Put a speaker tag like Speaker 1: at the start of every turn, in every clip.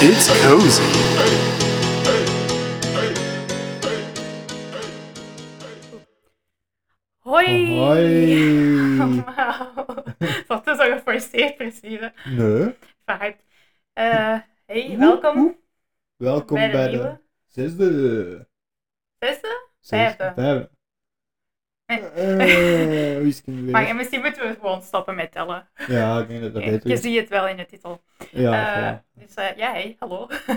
Speaker 1: It's cozy.
Speaker 2: Hoi!
Speaker 3: Oh, Hoi.
Speaker 2: Allemaal. Wat is dat geforceerd, precies. hè?
Speaker 3: Nee.
Speaker 2: Vaak. Eh, hey, welkom
Speaker 3: Welkom
Speaker 2: bij
Speaker 3: bij,
Speaker 2: de
Speaker 3: de
Speaker 2: nieuwe.
Speaker 3: zesde.
Speaker 2: Zesde?
Speaker 3: zes-
Speaker 2: Vijfde.
Speaker 3: Vijfde.
Speaker 2: Eh.
Speaker 3: Eh, wiskunde weer.
Speaker 2: Maar misschien moeten we gewoon stoppen met tellen.
Speaker 3: Ja, ik denk dat dat
Speaker 2: Je,
Speaker 3: beter is.
Speaker 2: ziet het wel in de titel.
Speaker 3: Ja,
Speaker 2: Eh,
Speaker 3: voilà.
Speaker 2: dus eh, ja, hey, hallo.
Speaker 3: Hi.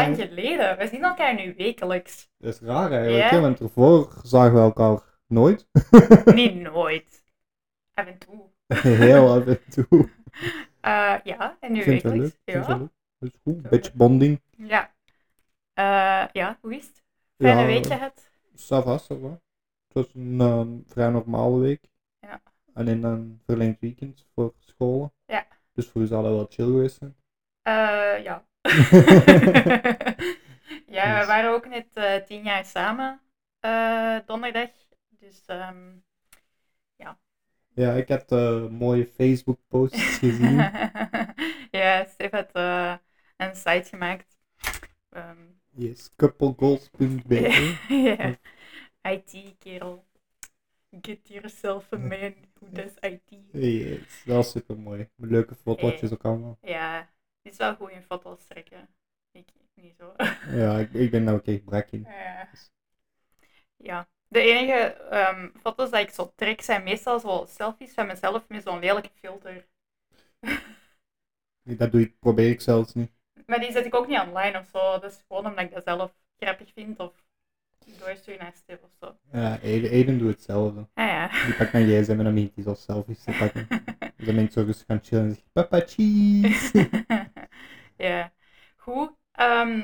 Speaker 2: Lang geleden. We zien elkaar nu wekelijks.
Speaker 3: Dat is raar eigenlijk,
Speaker 2: Ja.
Speaker 3: hè, want ervoor zagen we elkaar nooit.
Speaker 2: Niet nooit. Af en toe.
Speaker 3: Heel af en toe.
Speaker 2: Eh, ja, en nu
Speaker 3: Ik vind het wel leuk.
Speaker 2: wekelijks.
Speaker 3: ik vind het wel
Speaker 2: Ja.
Speaker 3: leuk. Dat is goed. Een beetje bonding.
Speaker 2: Ja. Eh, ja, hoe is het? Fijne week gehad.
Speaker 3: Ça va, ça va. Het was een eh, vrij normale week.
Speaker 2: Ja.
Speaker 3: Alleen dan verlengd weekend voor scholen.
Speaker 2: Ja.
Speaker 3: Dus voor u zal dat wel chill geweest zijn.
Speaker 2: Eh, ja. ja, we
Speaker 3: Yes.
Speaker 2: waren ook net eh, tien jaar samen eh, donderdag. Dus ehm,
Speaker 3: Ja, ik heb eh, mooie Facebook-posts gezien.
Speaker 2: ja, Stef had eh, een site gemaakt. Ehm,
Speaker 3: Yes, couplegoals.be.
Speaker 2: ja. IT-kerel. Get yourself a man who does IT.
Speaker 3: Yes, dat was super mooi. Leuke fotootjes ook allemaal.
Speaker 2: Ja, die is wel goed in foto's trekken. Ik niet zo.
Speaker 3: Ja, ik, ik ben nou ook echt brak in.
Speaker 2: Eh, ja. De enige ehm, foto's die ik zo trek zijn meestal zo selfies van mezelf met zo'n lelijke filter.
Speaker 3: Dat doe ik, probeer ik zelfs niet.
Speaker 2: Maar die zet ik ook niet online of zo. Dat is gewoon omdat ik dat zelf grappig vind of doorstuur naar Stef of zo.
Speaker 3: Ja, Eden, Eden doet hetzelfde.
Speaker 2: Ah ja.
Speaker 3: Die pakt mijn gsm en dan begint hij zo selfies te pakken. Dus dan ben ik zo rustig gaan chillen en zeg ik, papa cheese.
Speaker 2: ja. Goed. ehm,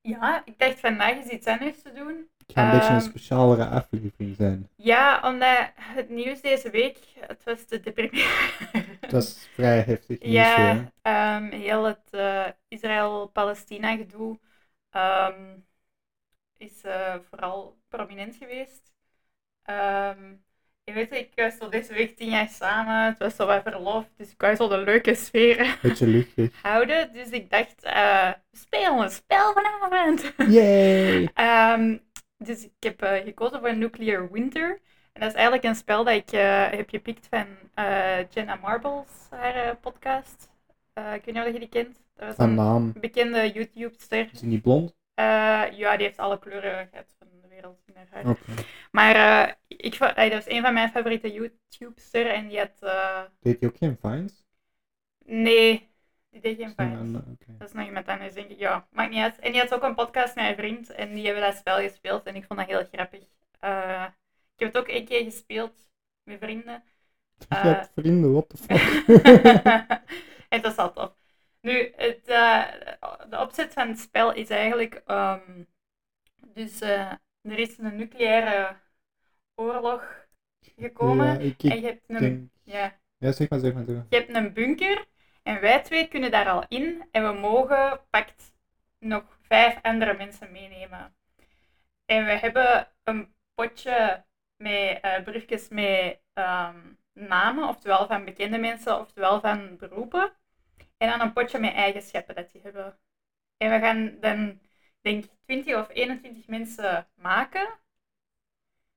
Speaker 2: ja, ik dacht vandaag is iets anders te doen.
Speaker 3: Het gaat een beetje een
Speaker 2: Ehm.
Speaker 3: specialere aflevering zijn.
Speaker 2: Ja, omdat het nieuws deze week, het was te deprimerend.
Speaker 3: Het was vrij heftig nieuws weer, hè.
Speaker 2: Ja, ehm, heel het eh, Israël-Palestina gedoe ehm, is eh, vooral prominent geweest. Ehm, je weet, ik was zo deze week tien jaar samen, het was zo wat verlof, dus ik wou zo de leuke sfeer
Speaker 3: Beetje luchtig.
Speaker 2: houden. Dus ik dacht, eh, we spelen een spel vanavond.
Speaker 3: Yay!
Speaker 2: Ehm, dus ik heb eh, gekozen voor Nuclear Winter. En dat is eigenlijk een spel dat ik eh, heb gepikt van eh, Jenna Marbles, haar eh, podcast. Eh, ik weet niet of je die kent. Dat was
Speaker 3: Van
Speaker 2: een
Speaker 3: naam.
Speaker 2: bekende YouTube-ster.
Speaker 3: Is hij niet blond?
Speaker 2: Eh, ja, die heeft alle kleuren gehad van de wereld in haar haar.
Speaker 3: Oké.
Speaker 2: Maar eh, ik, vo- eh, dat is een van mijn favoriete YouTubester. En die had... eh,
Speaker 3: Deed hij ook geen fines?
Speaker 2: nee, die deed geen
Speaker 3: Geen
Speaker 2: fans.
Speaker 3: ander- nou, oké.
Speaker 2: Dat is nog iemand anders, denk ik. Ja, maakt niet uit. En die had ook een podcast met een vriend en die hebben dat spel gespeeld en ik vond dat heel grappig. Eh, ik heb het ook een keer gespeeld met vrienden.
Speaker 3: Je
Speaker 2: Eh.
Speaker 3: hebt vrienden, what the fuck?
Speaker 2: en dat zat op. Nu, het, eh, de opzet van het spel is eigenlijk... ehm, dus eh, er is een nucleaire oorlog gekomen
Speaker 3: Ja, ik,
Speaker 2: en
Speaker 3: ik
Speaker 2: je hebt een...
Speaker 3: denk...
Speaker 2: Ja,
Speaker 3: Ja, zeg maar, zeg maar, zeg maar.
Speaker 2: je hebt een bunker en wij twee kunnen daar al in en we mogen pakt nog vijf andere mensen meenemen. En we hebben een potje met eh, briefjes met ehm, namen, oftewel van bekende mensen, oftewel van beroepen. En dan een potje met eigenschappen dat die hebben. En we gaan dan, denk ik, 20 of 21 mensen maken.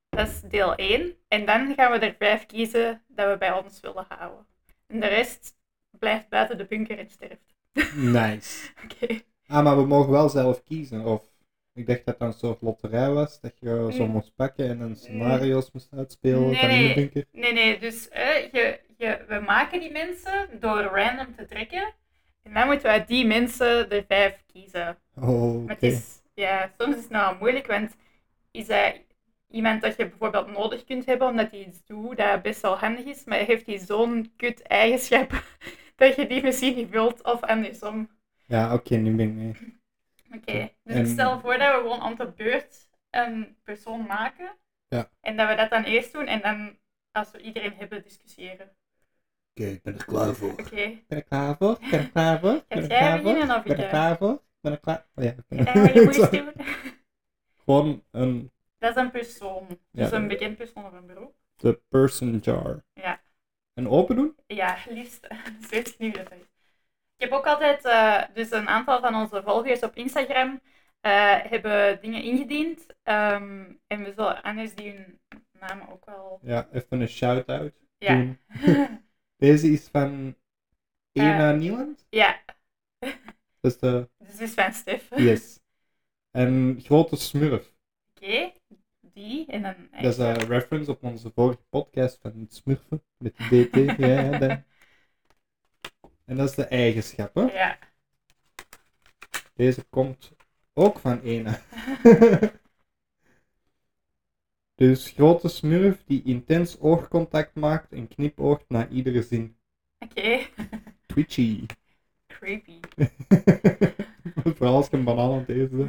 Speaker 2: Dat is deel 1. En dan gaan we er vijf kiezen dat we bij ons willen houden. En de rest blijft buiten de bunker en sterft.
Speaker 3: Nice.
Speaker 2: Oké.
Speaker 3: Ah, maar we mogen wel zelf kiezen. Of ik dacht dat dat een soort loterij was, dat je zo
Speaker 2: Mm.
Speaker 3: moest pakken en dan scenario's moest uitspelen
Speaker 2: Nee,
Speaker 3: van in
Speaker 2: nee.
Speaker 3: de bunker.
Speaker 2: Nee, nee, dus eh, je, je, we maken die mensen door random te trekken. En dan moeten we uit die mensen er vijf kiezen.
Speaker 3: Oh, oké.
Speaker 2: Maar het is, ja, soms is het nou moeilijk, want is hij iemand dat je bijvoorbeeld nodig kunt hebben omdat hij iets doet dat best wel handig is, maar heeft hij zo'n kut eigenschap dat je die misschien niet wilt of andersom.
Speaker 3: Ja, oké, nu ben ik mee.
Speaker 2: Oké,
Speaker 3: Oké.
Speaker 2: dus
Speaker 3: En-
Speaker 2: ik stel voor dat we gewoon aan de beurt een persoon maken
Speaker 3: Ja.
Speaker 2: en dat we dat dan eerst doen en dan als we iedereen hebben discussiëren.
Speaker 3: Oké, ik ben er klaar voor.
Speaker 2: Oké, eh,
Speaker 3: Ben ik klaar voor? Ik Ben er klaar voor? Ik Ben er
Speaker 2: jij
Speaker 3: klaar voor?
Speaker 2: beginnen of
Speaker 3: Ik Ben
Speaker 2: ik,
Speaker 3: er
Speaker 2: eh?
Speaker 3: klaar voor? Ik Ben er klaar oh, ja.
Speaker 2: Eh, je moet eens
Speaker 3: Sorry.
Speaker 2: doen.
Speaker 3: Gewoon een
Speaker 2: Dat is een persoon, dus
Speaker 3: Ja.
Speaker 2: een bekend persoon of een beroep.
Speaker 3: the person jar.
Speaker 2: Ja.
Speaker 3: En open doen?
Speaker 2: Ja, liefst. Dat weet ik nu dat hij. Ik heb ook altijd, eh, dus een aantal van onze volgers op Instagram eh, hebben dingen ingediend. Ehm, en we zullen anders die hun naam ook wel.
Speaker 3: Ja, even een shout-out.
Speaker 2: Ja.
Speaker 3: doen. Deze is van Ena Nieland.
Speaker 2: ja,
Speaker 3: Dat is de...
Speaker 2: dus dit is van Stef.
Speaker 3: Yes. En grote smurf.
Speaker 2: Oké, die en dan.
Speaker 3: Dat is een reference op onze vorige podcast van smurfen met de DT. ja, ja, dat. En dat is de eigenschap. Hè?
Speaker 2: Ja,
Speaker 3: Deze komt ook van Ena. dus grote smurf die intens oogcontact maakt en knipoogt na iedere zin.
Speaker 2: oké.
Speaker 3: Twitchy.
Speaker 2: Creepy.
Speaker 3: Vooral als ik een banaan aan het eten ben.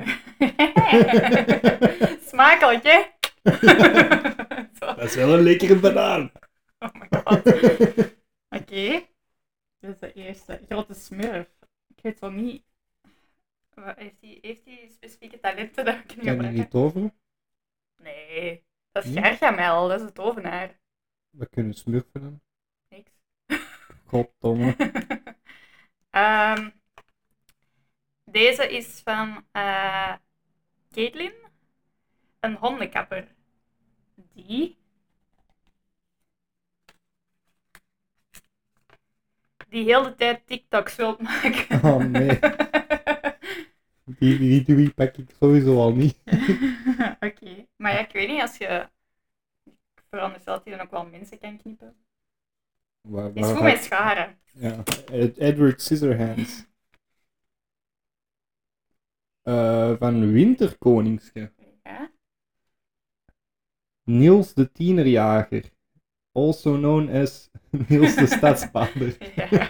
Speaker 2: Smakelijk, hè? Zo.
Speaker 3: Dat is wel een lekkere banaan.
Speaker 2: Oh my god. Oké. Dat is de eerste. Grote smurf. Ik weet wel niet. Wat- Heeft hij heeft die specifieke talenten dat ik niet
Speaker 3: Kan je
Speaker 2: gebruik?
Speaker 3: niet Hm? over?
Speaker 2: Nee. Dat is
Speaker 3: Niet?
Speaker 2: Gargamel, dat is de tovenaar.
Speaker 3: We kunnen smurfen dan.
Speaker 2: Niks.
Speaker 3: Goddomme.
Speaker 2: Ehm, deze is van eh Caitlin, een hondenkapper. Die. Die heel de tijd TikToks wilt maken.
Speaker 3: Oh, nee. Die, die, die pak ik sowieso al niet.
Speaker 2: Oké, maar ja, ik weet niet als je. Ik veronderstel dat hij dan ook wel mensen kan knippen.
Speaker 3: Waar,
Speaker 2: Die is
Speaker 3: waar-
Speaker 2: goed met scharen.
Speaker 3: Ja, Ed- Edward Scissorhands. Eh, van Winterkoningske.
Speaker 2: Ja.
Speaker 3: Niels de Tienerjager. Also known as Niels de Stadsvader.
Speaker 2: Ja.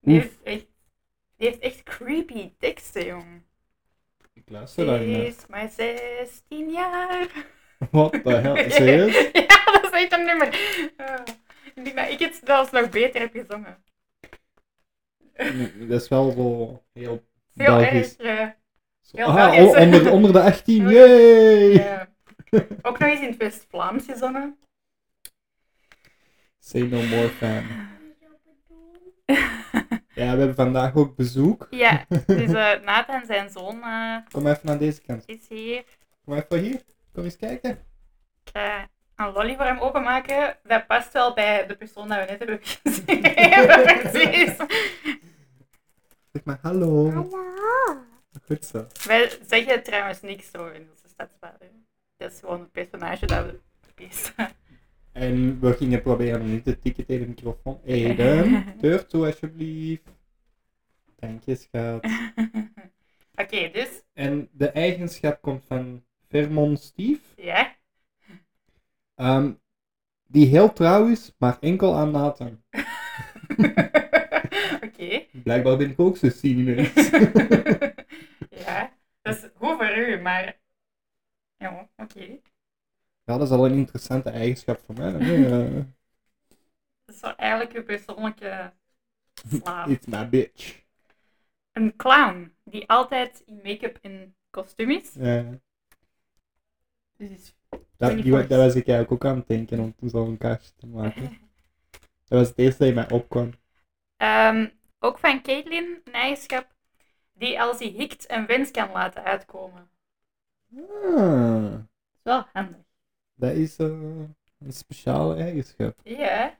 Speaker 2: Die heeft echt, die heeft echt creepy teksten, jong.
Speaker 3: Ik luister daar
Speaker 2: Ze
Speaker 3: naar.
Speaker 2: is maar 16 jaar.
Speaker 3: What the hell? Serieus?
Speaker 2: ja, dat is echt een nummer. Ja. ik denk dat ik het zelfs nog beter heb gezongen.
Speaker 3: Nee, Dat is wel zo heel
Speaker 2: Veel
Speaker 3: Belgisch.
Speaker 2: erg. ja.
Speaker 3: Zo-
Speaker 2: heel
Speaker 3: ah,
Speaker 2: Belgisch. Oh,
Speaker 3: o- onder, onder de 18, yay!
Speaker 2: eh, Ja. Ook nog eens in het West-Vlaams gezongen.
Speaker 3: Say no more fan. Ja, we hebben vandaag ook bezoek.
Speaker 2: ja, dus eh Nathan, zijn zoon, eh,
Speaker 3: Kom even aan deze kant.
Speaker 2: is hier.
Speaker 3: Kom even hier. Kom eens kijken.
Speaker 2: Ik ga eh, een lolly voor hem openmaken. Dat past wel bij de persoon dat we net hebben gezien. Precies.
Speaker 3: Zeg maar hallo.
Speaker 1: Hallo.
Speaker 3: Goed zo.
Speaker 2: Wij zeggen trouwens niks over onze stadsvader. Dat is gewoon het personage dat we pees.
Speaker 3: En we gingen proberen om niet te tikken tegen de microfoon. Eden, deur toe alsjeblieft. Dank je, schat.
Speaker 2: Oké, dus
Speaker 3: En de eigenschap komt van Vermont Steve.
Speaker 2: ja.
Speaker 3: Ehm, die heel trouw is, maar enkel aan Nathan.
Speaker 2: Oké.
Speaker 3: Blijkbaar ben ik ook zo cynisch.
Speaker 2: ja, dat is goed voor u, maar. Ja, oké.
Speaker 3: ja, dat is al een interessante eigenschap voor mij. hè. Eh,
Speaker 2: Dat is wel eigenlijk uw persoonlijke slaaf.
Speaker 3: It's my bitch.
Speaker 2: Een clown die altijd in make-up en kostuum is.
Speaker 3: Ja.
Speaker 2: Dus is
Speaker 3: Dat, die, wa- dat was ik eigenlijk ook aan het denken om toen zo'n kaartje te maken. Dat was het eerste dat in mij opkwam.
Speaker 2: Ehm, ook van Caitlin, een eigenschap die als hij hikt een wens kan laten uitkomen.
Speaker 3: Ah,
Speaker 2: Dat is wel handig.
Speaker 3: dat is eh, een speciale eigenschap.
Speaker 2: Ja.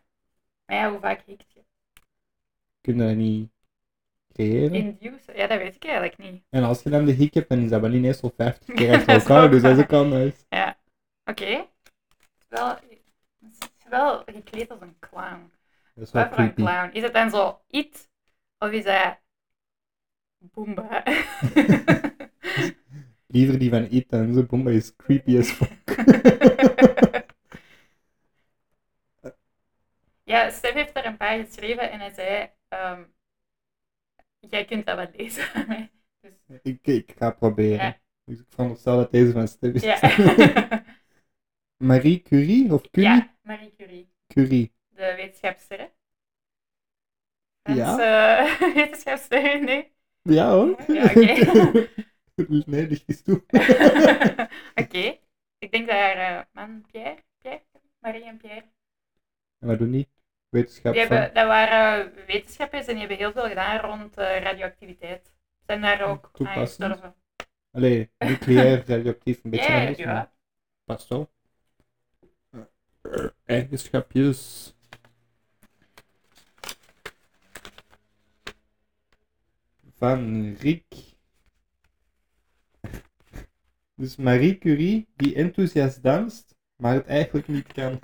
Speaker 2: Maar ja, hoe vaak hikt je?
Speaker 3: Kun je dat niet creëren?
Speaker 2: Induce? Ja, dat weet ik eigenlijk niet.
Speaker 3: En als je dan de hik hebt, dan is dat wel ineens al 50 keer achter
Speaker 2: Dat is
Speaker 3: elkaar,
Speaker 2: ook
Speaker 3: dus dat is
Speaker 2: waar.
Speaker 3: ook al nice.
Speaker 2: Oké. Wel, het is wel gekleed als een clown.
Speaker 3: Dat is wel
Speaker 2: Wat voor een
Speaker 3: creepy.
Speaker 2: clown? Is het dan zo it? Of is dat... Boomba?
Speaker 3: Liever die van It dan zo, Bomba is creepy as fuck.
Speaker 2: ja, Stef heeft er een paar geschreven en hij zei... ehm, Jij kunt dat wel lezen aan mij. Dus,
Speaker 3: Ik, ik ga proberen.
Speaker 2: Ja.
Speaker 3: Dus ik veronderstel dat deze van Stef is.
Speaker 2: ja.
Speaker 3: Marie Curie of Curie?
Speaker 2: ja, Marie Curie.
Speaker 3: Curie.
Speaker 2: de wetenschapster. hè?
Speaker 3: Ja.
Speaker 2: Dus, eh, wetenschapster, nee.
Speaker 3: Ja hoor.
Speaker 2: Ja, oké.
Speaker 3: nee, licht is toe.
Speaker 2: Oké. Ik denk dat haar eh, man Pierre, Pierre, Marie en Pierre,
Speaker 3: En wat doen die? wetenschap
Speaker 2: Die
Speaker 3: van.
Speaker 2: hebben, dat waren wetenschappers en die hebben heel veel gedaan rond eh, radioactiviteit. Zijn daar ook aan
Speaker 3: Toepassend.
Speaker 2: gestorven.
Speaker 3: Allee, nucleair, radioactief, een beetje
Speaker 2: Ja,
Speaker 3: anders, maar
Speaker 2: ja.
Speaker 3: past wel. Eigenschapjes. Van Riek. Dus Marie Curie, die enthousiast danst, maar het eigenlijk niet kan.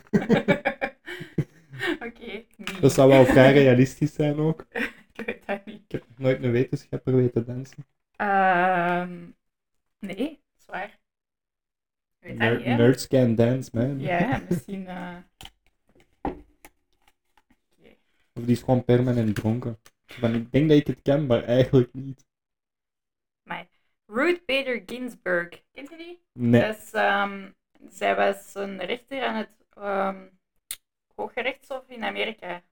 Speaker 2: Oké, niet.
Speaker 3: Dat zou wel vrij realistisch zijn ook.
Speaker 2: Ik weet dat niet.
Speaker 3: Ik heb nog nooit een wetenschapper weten dansen.
Speaker 2: Ehm, nee, zwaar. Ik weet dat
Speaker 3: Ner-
Speaker 2: niet, hè.
Speaker 3: nerds can dance, man.
Speaker 2: Ja, misschien... eh, oké.
Speaker 3: Of die is gewoon permanent dronken. Van, ik denk dat ik het kan, maar eigenlijk niet.
Speaker 2: Ruth Bader Ginsburg, kent je die?
Speaker 3: Nee.
Speaker 2: Dus, ehm, zij was een rechter aan het ehm Hooggerechtshof in Amerika.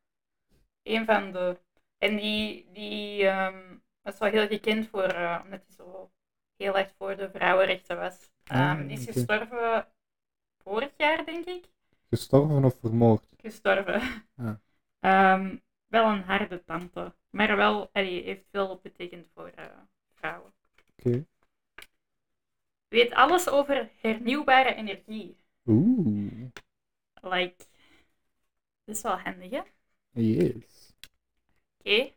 Speaker 2: Een van de. En die, die ehm, was wel heel gekend voor, eh, omdat hij zo heel erg voor de vrouwenrechten was. Ehm,
Speaker 3: Ah,
Speaker 2: die is
Speaker 3: oké.
Speaker 2: gestorven vorig jaar, denk ik.
Speaker 3: Gestorven of vermoord?
Speaker 2: Gestorven.
Speaker 3: Ah.
Speaker 2: Ehm, wel een harde tante, maar wel, allee, heeft veel betekend voor eh, vrouwen.
Speaker 3: Oké.
Speaker 2: Weet alles over hernieuwbare energie.
Speaker 3: Oeh.
Speaker 2: Like, dit is wel handig, hè? Oké.
Speaker 3: Yes.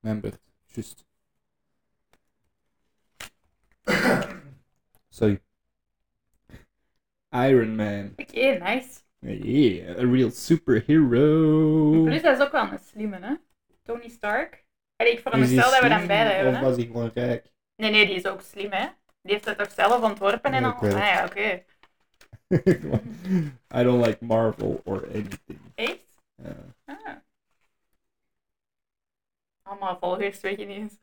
Speaker 3: Mijn beurt. Juist. Sorry. Iron Man.
Speaker 2: Oké, nice.
Speaker 3: Yeah, a real superhero.
Speaker 2: Plus, dat is ook wel een slimme, hè? Tony Stark. Allee, ik
Speaker 3: Is hij
Speaker 2: veronderstel dat we
Speaker 3: slim
Speaker 2: dan beide hebben,
Speaker 3: Of
Speaker 2: hè?
Speaker 3: was hij gewoon rijk?
Speaker 2: Nee, nee, die is ook slim, hè? Die heeft het toch zelf ontworpen en
Speaker 3: Ja,
Speaker 2: al?
Speaker 3: ik weet het.
Speaker 2: Ah ja, oké.
Speaker 3: I don't like Marvel or anything. Eh.
Speaker 2: Echt?
Speaker 3: Ja.
Speaker 2: Ah. Allemaal volgers, weet je niet.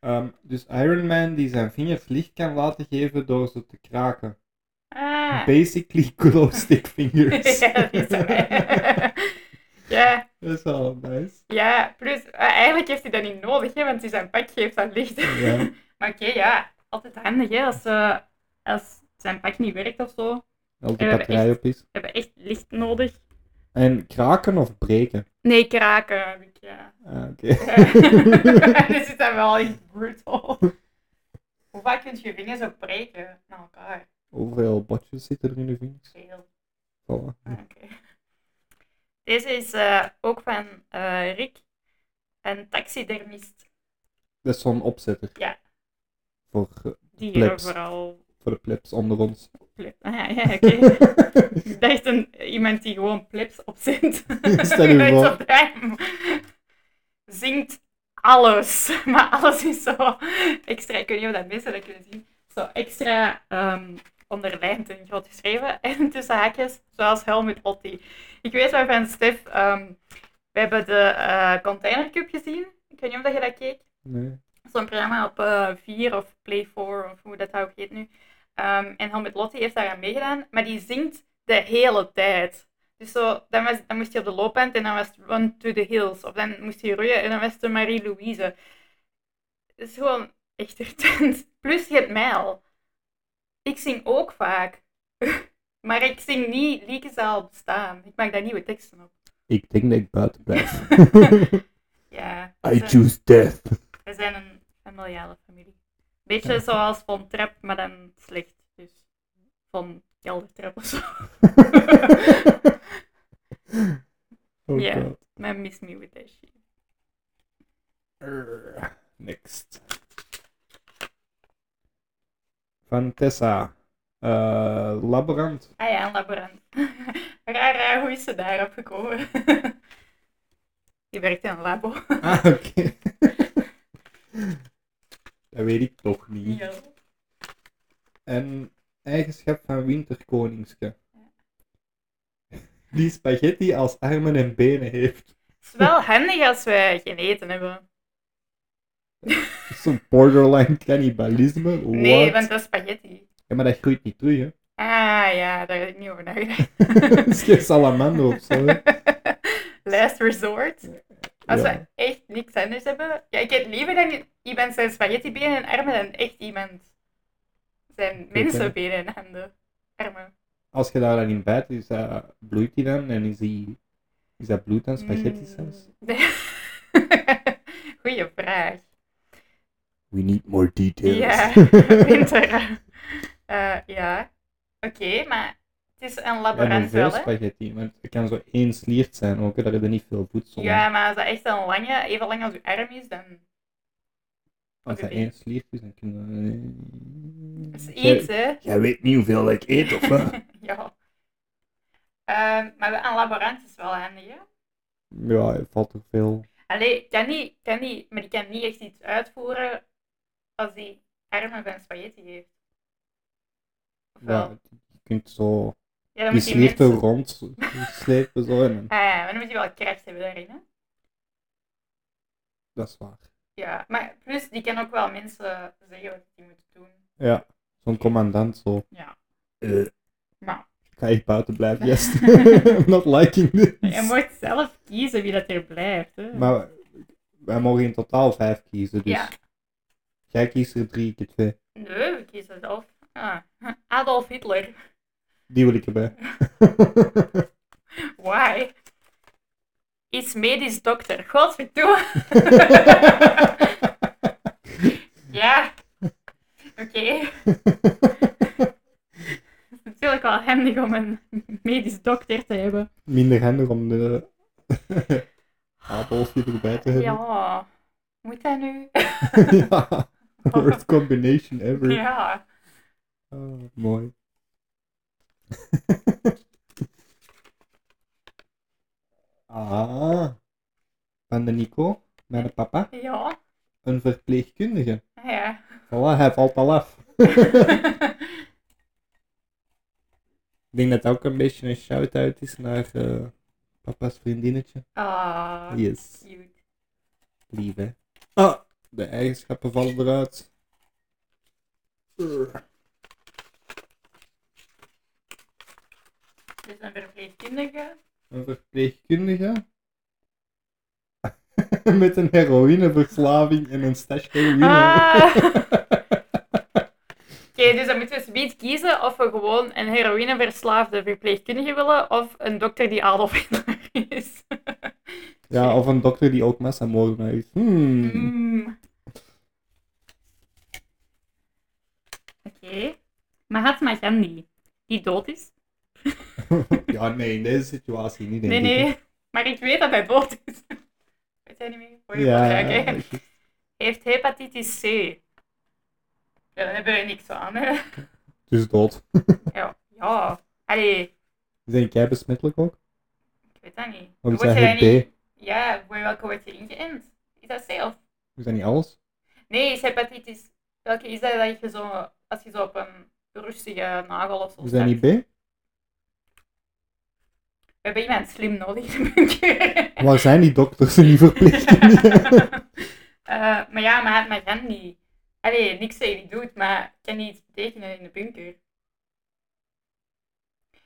Speaker 3: Ehm, dus Iron Man die zijn vingers licht kan laten geven door ze te kraken.
Speaker 2: Ah.
Speaker 3: Basically glow stick fingers.
Speaker 2: ja, die zijn wij. ja,
Speaker 3: Dat is wel nice.
Speaker 2: ja. Plus, eh, eigenlijk heeft hij dat niet nodig, hè? Want hij zijn pak geeft dat licht.
Speaker 3: Ja.
Speaker 2: Maar oké, ja, altijd handig hè, als, eh, als zijn pak niet werkt of zo. We En
Speaker 3: Als de
Speaker 2: we hebben
Speaker 3: batterij
Speaker 2: echt-
Speaker 3: op is.
Speaker 2: hebben echt licht nodig.
Speaker 3: En kraken of breken?
Speaker 2: Nee, kraken heb ik, ja.
Speaker 3: Ah, Oké.
Speaker 2: Eh, Dit is dan wel echt brutal. Hoe vaak kun je je vingers ook breken naar elkaar?
Speaker 3: Hoeveel botjes zitten er in de vingers?
Speaker 2: Veel.
Speaker 3: Voilà.
Speaker 2: Ah, oké. Deze is eh, ook van eh, Rick, een taxidermist.
Speaker 3: Dat is zo'n opzetter.
Speaker 2: Ja.
Speaker 3: Voor, eh,
Speaker 2: Die hier
Speaker 3: Plebs.
Speaker 2: vooral...
Speaker 3: voor de plebs onder ons.
Speaker 2: pleb- Ah, ja, oké. Ik dacht een, iemand die gewoon plips opzet.
Speaker 3: Stel je
Speaker 2: Uit
Speaker 3: voor.
Speaker 2: zo'n duim. Zingt alles. Maar alles is zo extra. Ik weet niet of dat mensen dat kunnen zien. Zo extra ehm onderlijnd en groot geschreven. En tussen haakjes, zoals Helmut Otti. Ik weet wel van Stef. ehm, we hebben de eh Container Cup gezien. Ik weet niet of dat je dat keek
Speaker 3: nee.
Speaker 2: zo'n programma op eh 4 of Play 4 of hoe dat ook heet nu. Ehm, en Helmut Lotti heeft daar aan meegedaan, maar die zingt de hele tijd. Dus zo, dan, was, dan moest hij op de loopband en dan was het Run to the Hills. Of dan moest hij roeien en dan was het de Marie-Louise. Het is gewoon echt irritant. Plus je hebt mij al. Ik zing ook vaak. maar ik zing niet liedjes al bestaan. Ik maak daar nieuwe teksten op.
Speaker 3: Ik denk dat ik buiten blijf.
Speaker 2: Ja.
Speaker 3: I
Speaker 2: dus, eh,
Speaker 3: choose death.
Speaker 2: we zijn een familiale familie. Beetje zoals Von Trapp, maar dan slecht. Dus Von Geldertrap of zo.
Speaker 3: oh
Speaker 2: Ja.
Speaker 3: god.
Speaker 2: Maar miss me with that shit.
Speaker 3: Err, Next. Van Tessa. Eh, laborant.
Speaker 2: Ah ja, een laborant. raar, raar, hoe is ze daarop gekomen? Je werkt in een labo.
Speaker 3: Ah, oké. Dat weet ik toch niet.
Speaker 2: Ja.
Speaker 3: Een eigenschap van Winterkoningske. Die spaghetti als armen en benen heeft.
Speaker 2: Het is wel handig als we geen eten hebben.
Speaker 3: Zo'n borderline cannibalisme. What?
Speaker 2: Nee, want dat is spaghetti.
Speaker 3: Ja, maar dat groeit niet terug, hè.
Speaker 2: Ah ja, daar heb ik niet over nagedacht.
Speaker 3: dat is geen salamander of zo, hè.
Speaker 2: Last resort. Als
Speaker 3: Ja.
Speaker 2: we echt niks anders hebben. Ja, ik heb liever dan iemand zijn spaghetti benen en armen dan echt iemand zijn
Speaker 3: hè.
Speaker 2: mensenbenen en handen. Armen.
Speaker 3: Als je daar dan in bijt, is dat, bloeit die dan en is die Is dat bloed aan spaghetti
Speaker 2: Hmm.
Speaker 3: saus?
Speaker 2: Mm. Goeie vraag.
Speaker 3: We need more details.
Speaker 2: Ja, winter. Eh, ja, oké, maar het is een
Speaker 3: En
Speaker 2: laborant
Speaker 3: hoeveel
Speaker 2: wel, hè?
Speaker 3: spaghetti? Want het kan zo één sliert zijn ook, hè, daar heb je niet veel voedsel
Speaker 2: Ja, maar als dat echt een lange, even lang als uw arm is, dan
Speaker 3: Als dat
Speaker 2: oké.
Speaker 3: één sliert is, dan kunnen
Speaker 2: is
Speaker 3: we...
Speaker 2: het iets, hè?
Speaker 3: Jij weet niet hoeveel ik eet, of wat?
Speaker 2: ja. Ehm, maar een laborant is wel handig, hè?
Speaker 3: ja, er valt toch veel...
Speaker 2: Allee, ik kan niet, ik kan niet, maar die kan niet echt iets uitvoeren als die armen van spaghetti heeft. Of wel?
Speaker 3: Ja, je kunt zo...
Speaker 2: Ja, dan
Speaker 3: Die
Speaker 2: moet die
Speaker 3: sliert er
Speaker 2: mensen...
Speaker 3: rond slepen, zo, en dan-
Speaker 2: Ah, ja, maar dan moet je wel kracht hebben daarin, hè?
Speaker 3: dat is waar.
Speaker 2: Ja, maar plus, die kan ook wel mensen zeggen wat die moeten doen.
Speaker 3: Ja, zo'n commandant zo.
Speaker 2: Ja.
Speaker 3: eh,
Speaker 2: Maar
Speaker 3: ga je buiten blijven, yes. I'm not liking
Speaker 2: je
Speaker 3: this.
Speaker 2: moet zelf kiezen wie dat er blijft, hè?
Speaker 3: Maar wij mogen in totaal vijf kiezen, dus
Speaker 2: Ja.
Speaker 3: jij kiest er drie, ik er twee.
Speaker 2: Nee, we kiezen zelf. Ah, Adolf Hitler.
Speaker 3: Die wil ik erbij.
Speaker 2: Why? Is medisch dokter. Godverdomme. ja. Oké. Het is natuurlijk wel handig om een medisch dokter te hebben.
Speaker 3: Minder handig om de Adolfje erbij te hebben.
Speaker 2: Ja. Moet dat nu?
Speaker 3: Ja. Worst combination ever.
Speaker 2: ja.
Speaker 3: Ah, mooi. ah, van de Nico, mijn papa,
Speaker 2: Ja.
Speaker 3: een verpleegkundige.
Speaker 2: Ah, Ja.
Speaker 3: Voilà, hij valt al af. Ik denk dat het ook een beetje een shout-out is naar eh, papa's vriendinnetje.
Speaker 2: Ah.
Speaker 3: Yes,
Speaker 2: Cute.
Speaker 3: lief hè. Ah, de eigenschappen vallen eruit. Urgh.
Speaker 2: Dus een verpleegkundige.
Speaker 3: Een verpleegkundige. Met een heroïneverslaving en een stash heroïne.
Speaker 2: Ah. Oké, dus dan moeten we zometeen kiezen of we gewoon een heroïneverslaafde verpleegkundige willen of een dokter die Adolf Hitler is.
Speaker 3: Ja, of een dokter die ook massamoorden heeft. Hmm.
Speaker 2: Mm. Oké. Mahatma Gandhi, die dood is?
Speaker 3: ja, nee, in deze situatie niet. Denk
Speaker 2: Nee,
Speaker 3: ik.
Speaker 2: nee. Maar ik weet dat hij dood is. Weet jij niet meer? Hoor je
Speaker 3: Ja,
Speaker 2: wel, ja, oké.
Speaker 3: juist.
Speaker 2: Heeft hepatitis C. Ja, daar hebben we niks aan, hè.
Speaker 3: dus dood.
Speaker 2: Ja. Ja. Allee,
Speaker 3: Denk jij besmettelijk ook?
Speaker 2: ik weet dat niet.
Speaker 3: Of is
Speaker 2: Word
Speaker 3: dat
Speaker 2: jij
Speaker 3: het
Speaker 2: niet-
Speaker 3: B?
Speaker 2: Ja, voor welke wordt je ingeënt? Is dat C of?
Speaker 3: Is dat niet alles?
Speaker 2: Nee, is hepatitis. Welke is dat dat je zo, als je zo op een rustige nagel of zo
Speaker 3: Is dat
Speaker 2: staat?
Speaker 3: niet B?
Speaker 2: We hebben iemand slim nodig in de bunker.
Speaker 3: Waar zijn die dokters en die verpleegkundigen?
Speaker 2: Eh, maar ja, maar maar Gandhi. Allee, niks dat je niet doet, maar kan niet iets betekenen in de bunker.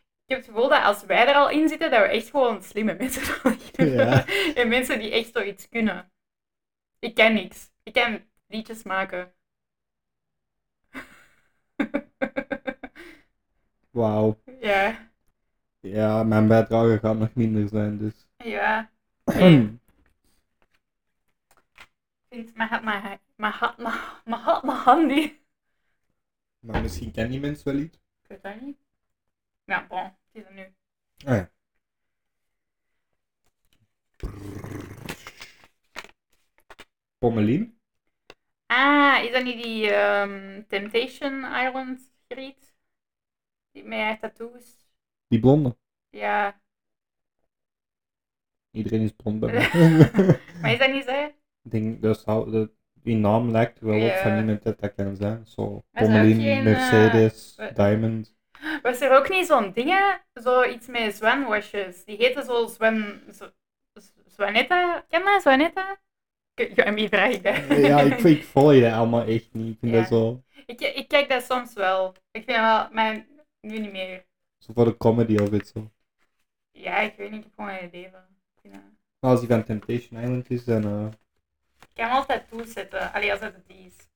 Speaker 2: Ik heb het gevoel dat als wij er al in zitten, dat we echt gewoon slimme mensen nodig hebben.
Speaker 3: Ja.
Speaker 2: En mensen die echt zoiets kunnen. Ik ken niks. Ik kan liedjes maken.
Speaker 3: Wauw.
Speaker 2: ja,
Speaker 3: Ja, mijn bijdrage gaat nog minder zijn, dus. Hmm.
Speaker 2: ja. Ik vind Mahatma, Mahatma, Mahatma Gandhi.
Speaker 3: maar misschien kennen die mensen wel iets.
Speaker 2: Ik weet dat niet. Ja, Nou, bon. Het is er nu.
Speaker 3: Ah ja. Pommelien?
Speaker 2: Ah, is dat niet die ehm, Temptation Island griet? Die met haar tattoos?
Speaker 3: Die blonde.
Speaker 2: Ja.
Speaker 3: Iedereen is blond bij mij.
Speaker 2: Maar is dat niet zij?
Speaker 3: Ik denk, dat zou, dat, die naam lijkt wel op van
Speaker 2: Ja.
Speaker 3: iemand dat dat kan zijn. Zo,
Speaker 2: Maar is er ook
Speaker 3: Pommelien,
Speaker 2: geen, eh,
Speaker 3: Mercedes,
Speaker 2: we-
Speaker 3: Diamond.
Speaker 2: Was er ook niet zo'n ding, hè? zoiets met zwanwashes? Die heette zo zwan... z- z- Zwanetta? Ken je dat, Zwanetta? Ik- Ja, aan wie vraag ik dat?
Speaker 3: Ja, ik, vind- ik volg je allemaal echt niet. Ik vind
Speaker 2: Ja.
Speaker 3: dat zo,
Speaker 2: ik, ik kijk dat soms wel. Ik vind dat wel... Maar nu niet meer.
Speaker 3: zo voor de comedy of iets zo.
Speaker 2: Ja, ik weet niet. Ik heb gewoon een idee van. Ik vind dat-
Speaker 3: Maar als die van Temptation Island is, dan... eh,
Speaker 2: Ik kan wel tattoos zetten. Allee, als dat het die is.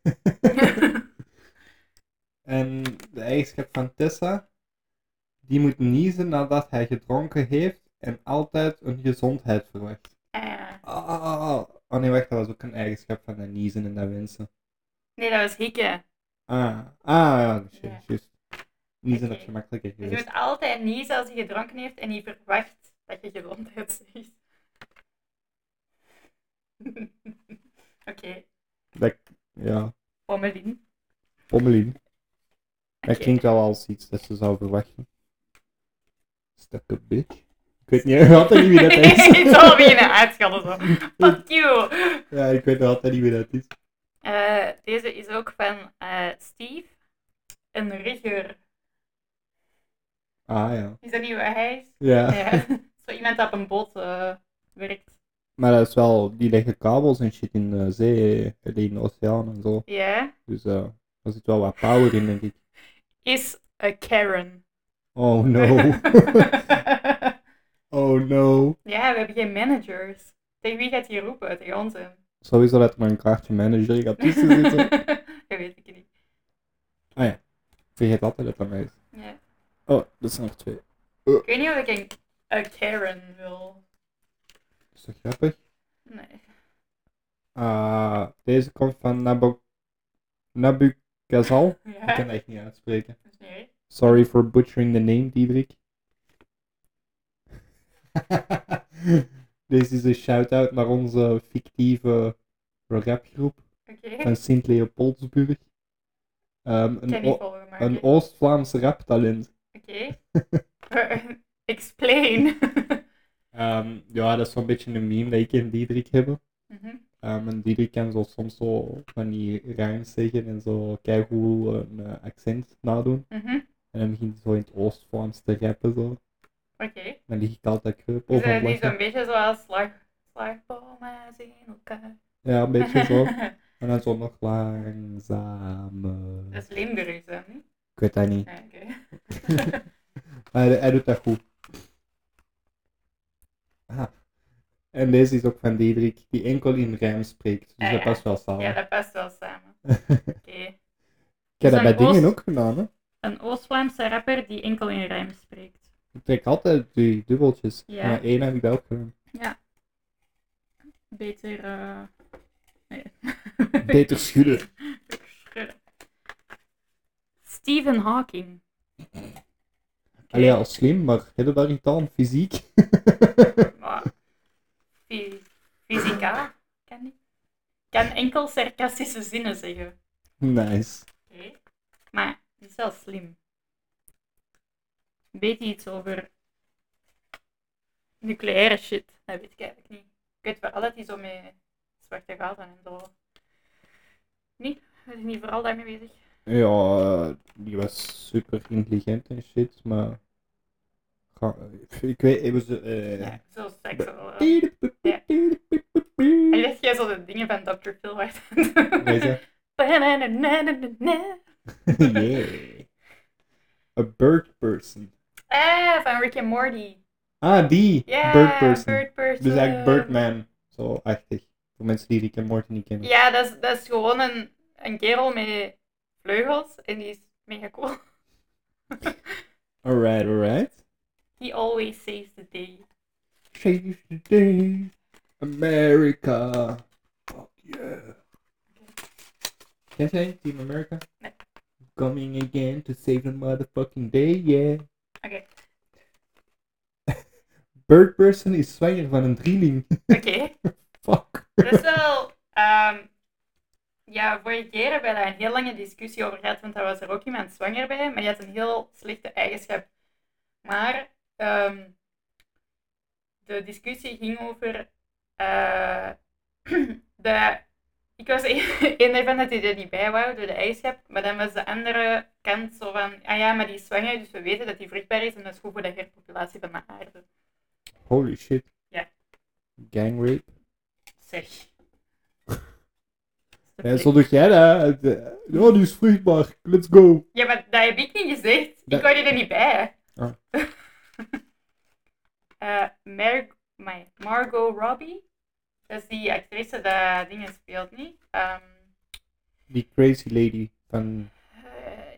Speaker 3: eh. en de eigenschap van Tessa, die moet niezen nadat hij gedronken heeft en altijd een gezondheid verwacht.
Speaker 2: Eh,
Speaker 3: Ah, ah, ah, ah. oh nee, wacht, dat was ook een eigenschap van dat niezen en dat wensen.
Speaker 2: nee, dat was hikken.
Speaker 3: Ah, ah ja, shit,
Speaker 2: Ja.
Speaker 3: juist. Niezen
Speaker 2: Oké.
Speaker 3: dat je makkelijker
Speaker 2: Dus je
Speaker 3: geweest.
Speaker 2: moet altijd niezen als je gedronken heeft en je verwacht dat je gezondheid zegt. Oké,
Speaker 3: Dat, ja,
Speaker 2: Pommelien.
Speaker 3: pommelien. Dat
Speaker 2: Oké.
Speaker 3: klinkt wel als iets dat ze zou verwachten. Stukke bitch. Ik weet niet, altijd niet wie dat is.
Speaker 2: ik zal beginnen uitschelden zo. Fuck you!
Speaker 3: Ja, ik weet altijd niet wie dat is.
Speaker 2: Eh, deze is ook van eh, Steve. Een rigger.
Speaker 3: Ah ja.
Speaker 2: Is dat niet wat hij is?
Speaker 3: Ja.
Speaker 2: Ja. Zo iemand dat op een boot eh, werkt.
Speaker 3: Maar dat is wel, die leggen kabels en shit in de zee, eh, in de oceaan en zo.
Speaker 2: Ja.
Speaker 3: Dus eh daar zit wel wat power in, denk ik.
Speaker 2: Is een Karen.
Speaker 3: Oh no. oh no.
Speaker 2: ja, we hebben geen managers. Tegen wie gaat hij roepen? Tegen ons. hè?
Speaker 3: Sowieso dat er maar een kaartje manager gaat tussen zitten.
Speaker 2: dat weet ik niet.
Speaker 3: Ik vergeet altijd dat dat mij is.
Speaker 2: Ja.
Speaker 3: Oh, dat zijn er twee.
Speaker 2: Ik weet niet of ik een, een Karen wil.
Speaker 3: Dat is toch grappig?
Speaker 2: Nee.
Speaker 3: Ah, deze komt van Nabu... Nabucazal. Ik
Speaker 2: Ja,
Speaker 3: kan dat echt niet uitspreken.
Speaker 2: dat is niet erg.
Speaker 3: Sorry for butchering the name, Diederik. Dit is een shout-out naar onze fictieve rapgroep
Speaker 2: Oké.
Speaker 3: van Sint-Leopoldsburg. Ehm,
Speaker 2: Ik kan
Speaker 3: een
Speaker 2: niet
Speaker 3: O-
Speaker 2: volgen, maar
Speaker 3: een
Speaker 2: oké.
Speaker 3: Oost-Vlaams raptalent.
Speaker 2: Oké. Explain.
Speaker 3: Ehm, ja, dat is zo'n beetje een meme dat ik en Diederik hebben.
Speaker 2: Mhm.
Speaker 3: Ehm, en Diederik kan zo soms zo van die ruims zeggen en zo keigoed een eh, accent nadoen.
Speaker 2: Mhm.
Speaker 3: En dan begint hij zo in het Oost-Vlaams te rappen zo.
Speaker 2: Oké. Dus, eh,
Speaker 3: Dan lig ik altijd kreup
Speaker 2: Is
Speaker 3: over
Speaker 2: dat
Speaker 3: het
Speaker 2: niet zo'n
Speaker 3: lachen.
Speaker 2: beetje zoals slag, slagbomen zien elkaar?
Speaker 3: Ja, een beetje zo. En dan zo nog langzaam. eh,
Speaker 2: dat is Limburgs dan, niet?
Speaker 3: Ik weet dat niet.
Speaker 2: Ja, oké.
Speaker 3: Maar hij, hij doet dat goed. Ah. En deze is ook van Diederik, die enkel in rijm spreekt.
Speaker 2: Ah,
Speaker 3: Dus
Speaker 2: Ja,
Speaker 3: dat
Speaker 2: ja.
Speaker 3: past wel samen.
Speaker 2: Ja, dat past wel samen. Oké.
Speaker 3: Ik heb
Speaker 2: Dus
Speaker 3: dat bij
Speaker 2: een oost-
Speaker 3: dingen ook gedaan. Hè.
Speaker 2: Een Oost-Vlaamse rapper die enkel in rijm spreekt.
Speaker 3: Ik trek altijd die dubbeltjes.
Speaker 2: Ja.
Speaker 3: Maar één heb ik dat ook gedaan.
Speaker 2: Beter. eh, Nee.
Speaker 3: Beter schudden.
Speaker 2: Schudden. Stephen Hawking. Oké.
Speaker 3: Allee, al slim, maar heel daar iets aan, fysiek.
Speaker 2: Maar fy- fysica kan niet. Kan enkel sarcastische zinnen zeggen.
Speaker 3: nice.
Speaker 2: Oké. Maar die is wel slim. Weet hij iets over nucleaire shit? Dat weet ik eigenlijk niet. Ik weet vooral dat hij zo met zwarte gaten en zo. Nee, hij is niet vooral daarmee bezig.
Speaker 3: Ja, eh, die was super intelligent en shit, maar. Ga- Ik weet, ik was. eh,
Speaker 2: Ja, zo seks wel. eh. En
Speaker 3: Wat
Speaker 2: weet jij zo de dingen van Dr. Phil waar
Speaker 3: is dat? Yeah. A bird person.
Speaker 2: Ah, van Rick and Morty.
Speaker 3: Ah, die
Speaker 2: Ja,
Speaker 3: bird person.
Speaker 2: Bird person.
Speaker 3: Dus eigenlijk Birdman, zo achtig. Voor mensen die Rick en Morty niet kennen.
Speaker 2: Ja, dat is, dat is gewoon een, een kerel met vleugels en die is mega cool.
Speaker 3: Alright, alright.
Speaker 2: He always saves the day.
Speaker 3: Change the day, America. Fuck yeah. Kent jij Team America?
Speaker 2: Nee.
Speaker 3: Coming again to save the motherfucking day, yeah.
Speaker 2: Oké,
Speaker 3: Bird person is zwanger van een drieling.
Speaker 2: oké.
Speaker 3: Fuck.
Speaker 2: Dat is wel... ehm, ja, vorige keer hebben we daar een heel lange discussie over gehad, want daar was er ook iemand zwanger bij, maar die had een heel slechte eigenschap. Maar ehm, de discussie ging over... eh, de, ik was een een ervan dat hij er niet bij wou door de eigenschap, maar dan was de andere kant zo van, ah ja, maar die is zwanger, dus we weten dat die vruchtbaar is en dat is goed voor de herpopulatie van de aarde.
Speaker 3: Holy shit.
Speaker 2: Ja.
Speaker 3: Gang rape.
Speaker 2: Zeg.
Speaker 3: Ja, zo doe jij dat. Het, eh, Ja, die is vruchtbaar. Let's go.
Speaker 2: Ja, maar dat heb ik niet gezegd.
Speaker 3: Dat-
Speaker 2: Ik hoorde er niet bij.
Speaker 3: Ah.
Speaker 2: Eh, Mar- my- Margot Robbie. Dat is die actrice die dingen speelt niet. Ehm,
Speaker 3: Die crazy lady van...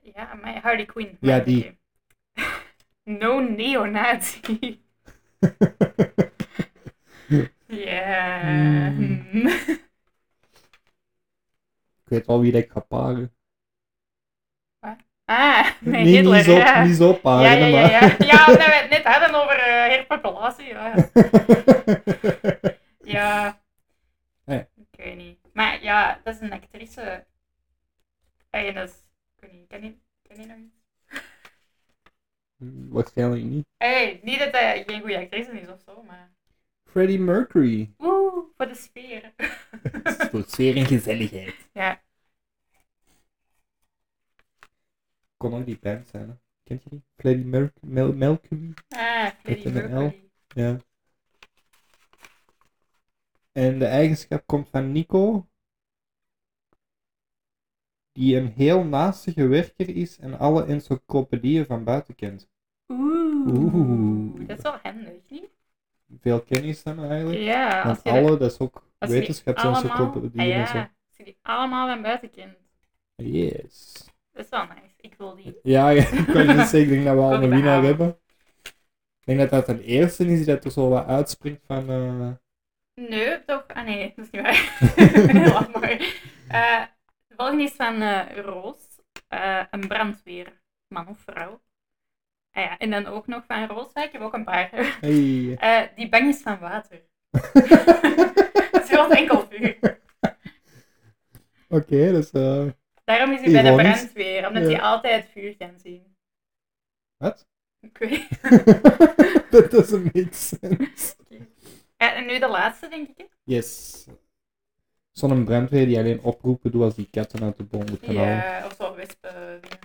Speaker 2: eh, ja, my Harley Quinn.
Speaker 3: Ja, die.
Speaker 2: no neonazi. Ja.
Speaker 3: Hmm. Ik weet al wie dat ik ga paren.
Speaker 2: Ah, nee,
Speaker 3: nee,
Speaker 2: Hitler,
Speaker 3: niet zo,
Speaker 2: ja.
Speaker 3: niet zo
Speaker 2: ja, ja,
Speaker 3: paren,
Speaker 2: ja, ja.
Speaker 3: maar...
Speaker 2: Ja, omdat we het net hadden over eh, herpopulatie. Ja. ja.
Speaker 3: Ja.
Speaker 2: Ik weet niet. Maar ja, dat is een actrice. Hey, dat is... Ik weet niet, ken je, ken je nog iets?
Speaker 3: Waarschijnlijk niet.
Speaker 2: Hey, niet dat hij geen goede actrice is of zo, maar...
Speaker 3: Freddie Mercury.
Speaker 2: Oeh, voor de sfeer.
Speaker 3: Voor sfeer en gezelligheid.
Speaker 2: Ja.
Speaker 3: Kon ook die band zijn, hè? Kent je die? Freddie Mer Mel Mercury?
Speaker 2: ah, Freddie
Speaker 3: Met een L.
Speaker 2: Mercury.
Speaker 3: Ja. En de eigenschap komt van Nico. Die een heel naastige werker is en alle encyclopedieën van buiten kent.
Speaker 2: Oeh.
Speaker 3: Oeh.
Speaker 2: Dat is wel handig, niet?
Speaker 3: Veel kennis dan eigenlijk.
Speaker 2: Ja, als
Speaker 3: Want
Speaker 2: je dat-
Speaker 3: alle, dat is ook
Speaker 2: als je die
Speaker 3: wetenschapsencyclopedieën
Speaker 2: allemaal-
Speaker 3: en
Speaker 2: ah,
Speaker 3: zo.
Speaker 2: ja, als je die allemaal van buiten kent.
Speaker 3: Yes.
Speaker 2: Dat is wel nice. Ik wil die.
Speaker 3: Ja, ja, ik kan niet zeggen, ik denk dat we
Speaker 2: Ook
Speaker 3: al een
Speaker 2: bij
Speaker 3: winnaar
Speaker 2: haar.
Speaker 3: hebben. Ik denk dat dat een eerste is die dat er zo wat uitspringt van... eh,
Speaker 2: Nee, toch? Ah nee, dat is niet waar. Laat maar. Eh, de volgende is van eh, Roos. Eh, een brandweerman of vrouw. Ah ja, en dan ook nog van Roos. hè, Ik heb ook een paar.
Speaker 3: hey.
Speaker 2: Eh, die bang is van water. dat is heel enkel vuur.
Speaker 3: Oké, dus... eh,
Speaker 2: Daarom is hij bij de
Speaker 3: Ironisch.
Speaker 2: brandweer, omdat
Speaker 3: Ja.
Speaker 2: hij altijd vuur kan zien.
Speaker 3: wat?
Speaker 2: Ik weet
Speaker 3: dat doesn't make sense.
Speaker 2: Eh, En nu de laatste, denk ik. hè?
Speaker 3: Yes. Zo'n brandweer die alleen oproepen doet als die katten uit de boom moeten halen.
Speaker 2: Ja, eh, of zo wespen. dingen.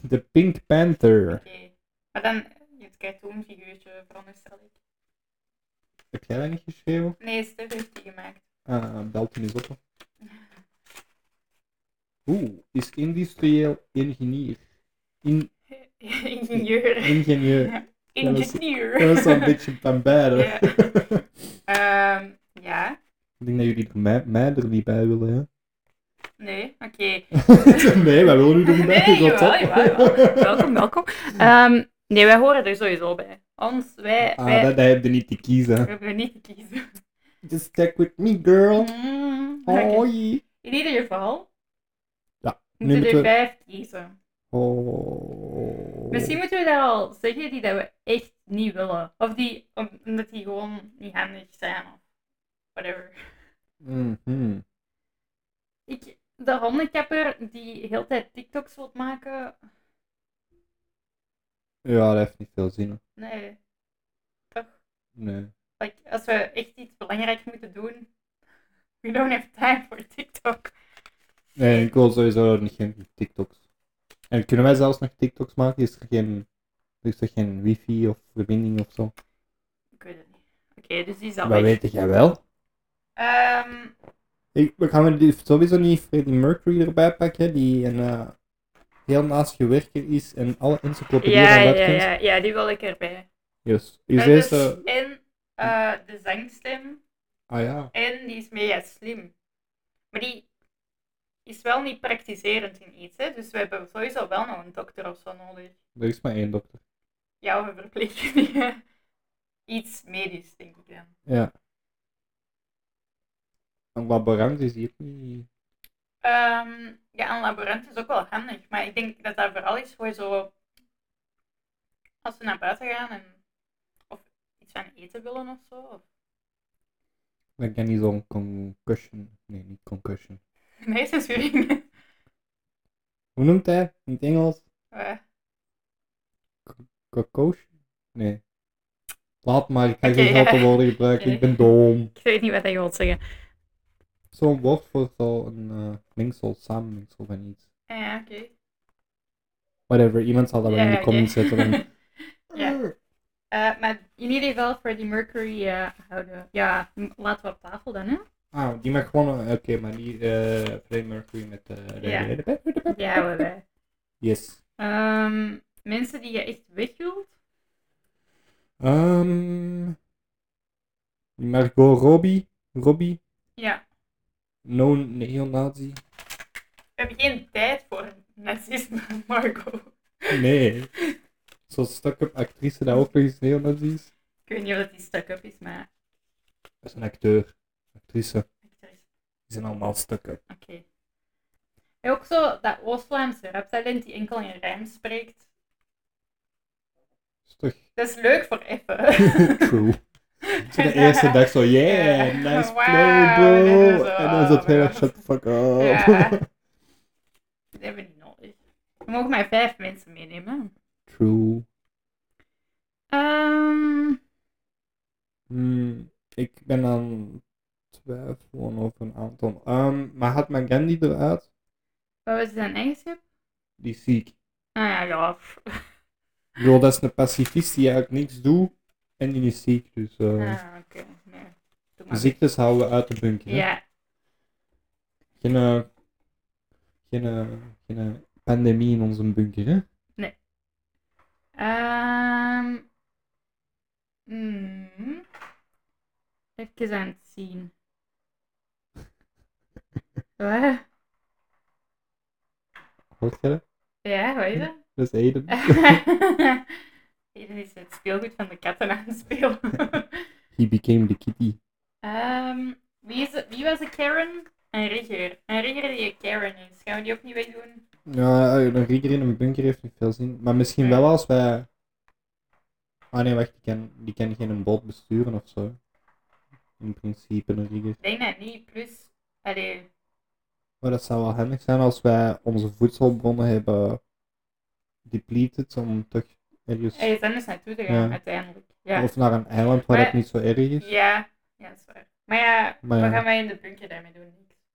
Speaker 3: De Pink Panther.
Speaker 2: Oké. Maar dan, het cartoonfiguurtje veronderstel ik.
Speaker 3: Heb jij dat niet geschreven?
Speaker 2: Nee, Stef heeft die gemaakt.
Speaker 3: Ah, belt hem eens op. Oeh, is industrieel ingenieur. In,
Speaker 2: Ingenieur.
Speaker 3: ingenieur.
Speaker 2: Ingenieur.
Speaker 3: Dat is wel een beetje van beide.
Speaker 2: Ja. Ehm, ja,
Speaker 3: Ik denk dat jullie er mij, mij er niet bij willen, hè?
Speaker 2: nee, oké.
Speaker 3: nee, wij willen u er niet bij.
Speaker 2: Nee,
Speaker 3: dat
Speaker 2: jawel, jawel, jawel. Welkom, welkom. Ehm, nee, wij horen er sowieso bij. Ons, wij,
Speaker 3: Ah,
Speaker 2: wij
Speaker 3: dat, dat heb je niet te kiezen.
Speaker 2: hebben niet te kiezen.
Speaker 3: Just stick with me, girl.
Speaker 2: Mm, oké.
Speaker 3: Oh, jee.
Speaker 2: In ieder geval
Speaker 3: Ja, nu
Speaker 2: moeten we
Speaker 3: moeten
Speaker 2: er
Speaker 3: we-
Speaker 2: vijf kiezen.
Speaker 3: Oh.
Speaker 2: Misschien moeten we daar al zeggen die dat we echt niet willen. Of die, om- omdat die gewoon niet handig zijn of whatever.
Speaker 3: Mhm.
Speaker 2: Ik, de hondenkapper die heel de tijd TikToks wilt maken,
Speaker 3: Ja, dat heeft niet veel zin. hoor.
Speaker 2: nee. Toch?
Speaker 3: Nee.
Speaker 2: Like, als we echt iets belangrijks moeten doen, we don't have time for TikTok.
Speaker 3: Nee, ik wil sowieso nog geen TikToks. En kunnen wij zelfs nog TikToks maken? Is er geen, is er geen wifi of verbinding of zo?
Speaker 2: Ik weet het niet. Oké, dus die is al
Speaker 3: Wat
Speaker 2: weg.
Speaker 3: weet jij wel?
Speaker 2: Ehm,
Speaker 3: Ik, we gaan er die- sowieso niet Freddie Mercury erbij pakken, die een eh, heel naastige werker is en alle encyclopedieën
Speaker 2: ja,
Speaker 3: van dat
Speaker 2: ja,
Speaker 3: kent.
Speaker 2: ja, ja, die wil ik erbij.
Speaker 3: Yes. Is
Speaker 2: Eh, dus-
Speaker 3: deze...
Speaker 2: en eh, de zangstem.
Speaker 3: Ah ja.
Speaker 2: En die is mega slim. Maar die is wel niet praktiserend in iets, hè? dus we hebben sowieso wel nog een dokter of zo nodig.
Speaker 3: Er is maar één dokter.
Speaker 2: Ja, of een verpleegkundige. Iets medisch, denk ik dan.
Speaker 3: Ja. Een laborant is hier niet...
Speaker 2: Ehm, ja, een laborant is ook wel handig, maar ik denk dat dat vooral is voor zo... Als we naar buiten gaan en... Of iets van eten willen of zo. Of...
Speaker 3: Dan kan niet zo'n concussion... Nee, niet concussion.
Speaker 2: Nee, censuring.
Speaker 3: Hoe noemt hij in het Engels?
Speaker 2: Eh,
Speaker 3: Concussion? Nee. Laat maar, ik ga geen
Speaker 2: Oké,
Speaker 3: grote
Speaker 2: ja.
Speaker 3: woorden gebruiken. Ik
Speaker 2: Oké.
Speaker 3: ben dom.
Speaker 2: ik weet niet wat je wilt zeggen.
Speaker 3: Zo'n woord voor zo'n eh mengsel, samenmengsel van iets.
Speaker 2: Ah Ja, oké.
Speaker 3: Whatever, iemand zal dat wel in de
Speaker 2: oké.
Speaker 3: comments zetten. dan-
Speaker 2: ja. Eh, maar in ieder geval Freddie Mercury eh, houden. Ja, m- laten we op tafel dan, hè?
Speaker 3: Ah, die mag gewoon... Oké, maar die eh Freddie Mercury met eh, de...
Speaker 2: Ja.
Speaker 3: de- de- de- de-
Speaker 2: Ja, we wij.
Speaker 3: Yes.
Speaker 2: Ehm, mensen die je echt weg wilt.
Speaker 3: Ehm Margot Robbie. Robbie.
Speaker 2: Ja.
Speaker 3: No neonazi.
Speaker 2: We hebben geen tijd voor nazisme, Marco.
Speaker 3: Nee. Zo'n stuk op actrice dat ook nog eens neonazi is.
Speaker 2: Ik weet niet of dat die stuck-up is, maar
Speaker 3: Dat is een acteur, actrice.
Speaker 2: actrice.
Speaker 3: Die zijn allemaal stukken.
Speaker 2: Oké. En ook zo dat Oost-Vlaamse raptalent die enkel in rijm spreekt.
Speaker 3: Dat is toch
Speaker 2: Dat is leuk voor even.
Speaker 3: true. Zo de eerste dag zo, yeah,
Speaker 2: Ja.
Speaker 3: nice
Speaker 2: Wauw,
Speaker 3: play
Speaker 2: dit is
Speaker 3: bro.
Speaker 2: zo,
Speaker 3: En dan is het
Speaker 2: oh,
Speaker 3: heel erg,
Speaker 2: bro.
Speaker 3: shut the fuck up.
Speaker 2: Ja. Dat hebben we niet nodig. We mogen maar vijf mensen meenemen.
Speaker 3: True.
Speaker 2: Ehm,
Speaker 3: Hmm, ik ben aan het twijfelen over een aantal. Ehm, maar had mijn Gandhi eruit?
Speaker 2: wat was zijn eigenschap?
Speaker 3: Die zie ik.
Speaker 2: Ah ja, ja. pff.
Speaker 3: Ik bedoel, dat is een pacifist die eigenlijk niks doet en die is ziek. Dus eh,
Speaker 2: Ah, oké. Nee. Doe maar.
Speaker 3: ziektes houden we uit de bunker. hè.
Speaker 2: Ja,
Speaker 3: Geen, eh, geen, eh, geen eh, pandemie in onze bunker, hè?
Speaker 2: Ehm. hmm. Even aan het zien. Wat?
Speaker 3: Hoort je dat?
Speaker 2: Ja, wat is dat?
Speaker 3: Dat is Aiden.
Speaker 2: Hier is het speelgoed van de katten aan het spelen.
Speaker 3: He became the kitty.
Speaker 2: Ehm, wie, is het- wie was de Karen? Een rigger. Een rigger die een Karen is. Gaan we die ook niet wegdoen?
Speaker 3: Ja, eh, een rigger in een bunker heeft niet veel zin. Maar misschien wel als wij... Ah nee, wacht, die kan, die kan geen boot besturen of zo. In principe een rigger.
Speaker 2: Ik denk dat niet. Plus, allee,
Speaker 3: Maar dat zou wel handig zijn als wij onze voedselbronnen hebben depleted om toch ergens...
Speaker 2: er is anders naartoe te gaan
Speaker 3: Ja.
Speaker 2: uiteindelijk. Ja.
Speaker 3: Of naar een eiland waar het
Speaker 2: Maar-
Speaker 3: niet zo erg is.
Speaker 2: Ja, ja, dat is waar. Maar ja,
Speaker 3: Maar
Speaker 2: wat
Speaker 3: ja.
Speaker 2: gaan wij in de bunker daarmee doen?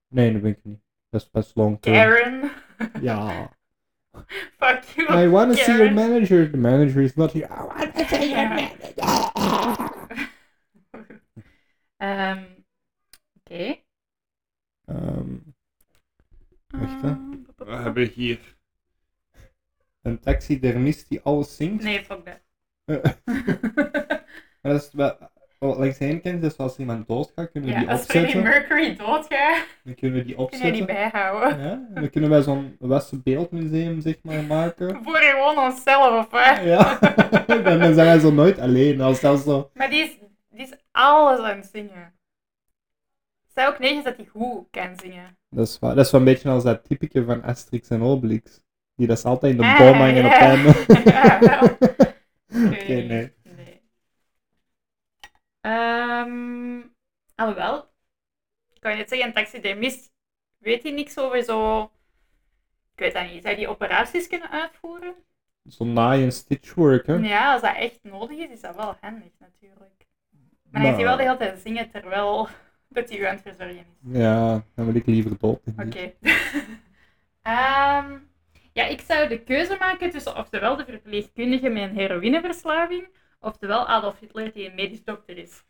Speaker 3: Nee, dat ben ik niet. Dat is best long term.
Speaker 2: Karen,
Speaker 3: Ja.
Speaker 2: fuck you.
Speaker 3: I want to see your
Speaker 2: Karen.
Speaker 3: manager. The manager is not here. I want to see your
Speaker 2: Ja.
Speaker 3: manager.
Speaker 2: Ehm, Oké.
Speaker 3: Ehm, Wacht, hè.
Speaker 2: Ehm,
Speaker 3: hier een taxidermist die alles zingt.
Speaker 2: Nee, fuck dat.
Speaker 3: Eh, maar dat is wel, oh, langs de ene kant is dat wel als iemand doodgaat, kunnen we
Speaker 2: Ja,
Speaker 3: die
Speaker 2: als Freddie
Speaker 3: opzetten.
Speaker 2: Mercury doodgaat,
Speaker 3: Dan kunnen we die
Speaker 2: kun je die
Speaker 3: opzetten.
Speaker 2: bijhouden.
Speaker 3: Ja, en dan kunnen wij zo'n Westen Beeldmuseum zeg maar maken.
Speaker 2: Voor gewoon onszelf, of wat?
Speaker 3: Ja, dan zijn wij zo nooit alleen. Als dat zo...
Speaker 2: Maar die is, die is alles aan het zingen. Het staat ook nergens dat hij goed kan zingen.
Speaker 3: dat, is wel, dat is wel een beetje als dat typeke van Asterix en Obelix. Die dat is altijd in de
Speaker 2: Ah,
Speaker 3: boom hangen op
Speaker 2: ja.
Speaker 3: einde.
Speaker 2: Ja, wel.
Speaker 3: Oké,
Speaker 2: Eh,
Speaker 3: nee.
Speaker 2: nee. Ehm, alhoewel, ik kan je net zeggen, een taxidermist weet hij niks over zo. Ik weet dat niet. Zou die operaties kunnen uitvoeren?
Speaker 3: Zo'n naai- en stitchwork, hè.
Speaker 2: Ja, als dat echt nodig is, is dat wel handig natuurlijk. Maar hij heeft
Speaker 3: Maar-
Speaker 2: hier wel de hele tijd zingen terwijl dat hij u aan het verzorgen is.
Speaker 3: Ja, dan wil ik liever dood.
Speaker 2: Oké. Ehm, ja, ik zou de keuze maken tussen oftewel de verpleegkundige met een heroïneverslaving, oftewel Adolf Hitler die een medisch dokter is.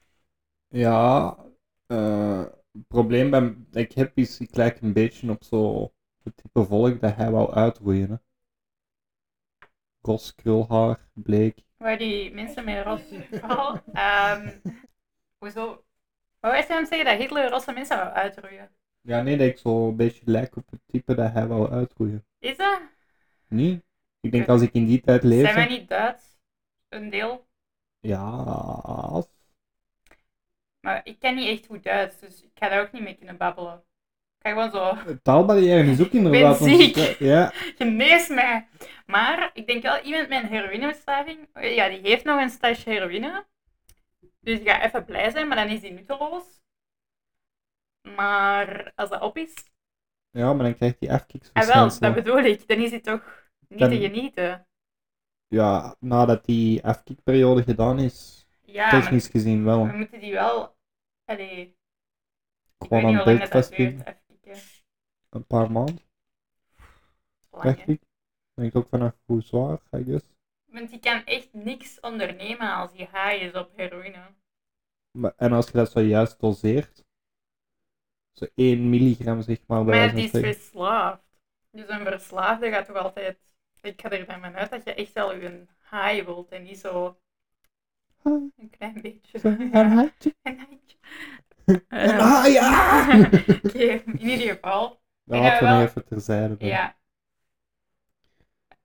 Speaker 3: Ja, eh, het probleem bij, dat ik heb is, ik lijk een beetje op zo het type volk dat hij wou uitroeien. Hè. Ros, krulhaar, bleek.
Speaker 2: Waar die mensen met rosse vooral. ehm, hoezo? Wat wij hem zeggen dat Hitler rosse mensen wou uitroeien?
Speaker 3: Ja, nee, dat ik zo een beetje lijk op het type dat hij wou uitroeien.
Speaker 2: Is dat?
Speaker 3: Nee? Ik denk als ik in die tijd leefde...
Speaker 2: Zijn wij niet Duits? Een deel.
Speaker 3: Ja,
Speaker 2: Maar ik ken niet echt goed Duits, dus ik ga daar ook niet mee kunnen babbelen. Ik ga gewoon zo,
Speaker 3: taalbarrière is ook inderdaad...
Speaker 2: ben
Speaker 3: ons-
Speaker 2: ziek.
Speaker 3: Ja,
Speaker 2: genees mij. Maar ik denk wel, iemand met een heroïneverslaving, ja, die heeft nog een stage heroïne. Dus die gaat even blij zijn, maar dan is die nutteloos. Maar als dat op is,
Speaker 3: ja, maar dan krijgt hij
Speaker 2: ah, wel,
Speaker 3: afkiksverschijnselen.
Speaker 2: dat bedoel ik, dan is hij toch niet
Speaker 3: Dan-
Speaker 2: te genieten.
Speaker 3: Ja, nadat die afkikperiode gedaan is,
Speaker 2: Ja, Ah, maar
Speaker 3: technisch gezien wel.
Speaker 2: we moeten die wel. Allee, ik weet
Speaker 3: Gewoon
Speaker 2: niet
Speaker 3: aan
Speaker 2: hoe lang dat
Speaker 3: beeld
Speaker 2: dat duurt.
Speaker 3: vastpinnen.
Speaker 2: Even kijken.
Speaker 3: Een paar maanden,
Speaker 2: Lang,
Speaker 3: dacht
Speaker 2: hè.
Speaker 3: ik. Denk ook vanaf hoe zwaar, I guess.
Speaker 2: Want die kan echt niks ondernemen als die haai is op heroïne.
Speaker 3: Maar, en als je dat zojuist doseert, zo 1 milligram zeg maar bij
Speaker 2: Maar
Speaker 3: wijze
Speaker 2: die
Speaker 3: van
Speaker 2: is
Speaker 3: spreken.
Speaker 2: verslaafd. Dus een verslaafde gaat toch altijd. Ik ga er dan van uit dat je echt wel een haai wilt en niet zo
Speaker 3: Hi,
Speaker 2: een klein beetje.
Speaker 3: zo, En hij-
Speaker 2: Een haaitje.
Speaker 3: en hij, ah, ja!
Speaker 2: Oké, in ieder geval.
Speaker 3: Dat
Speaker 2: Ik
Speaker 3: laten
Speaker 2: heb
Speaker 3: we nog
Speaker 2: wel-
Speaker 3: even terzijde. doen.
Speaker 2: Ja.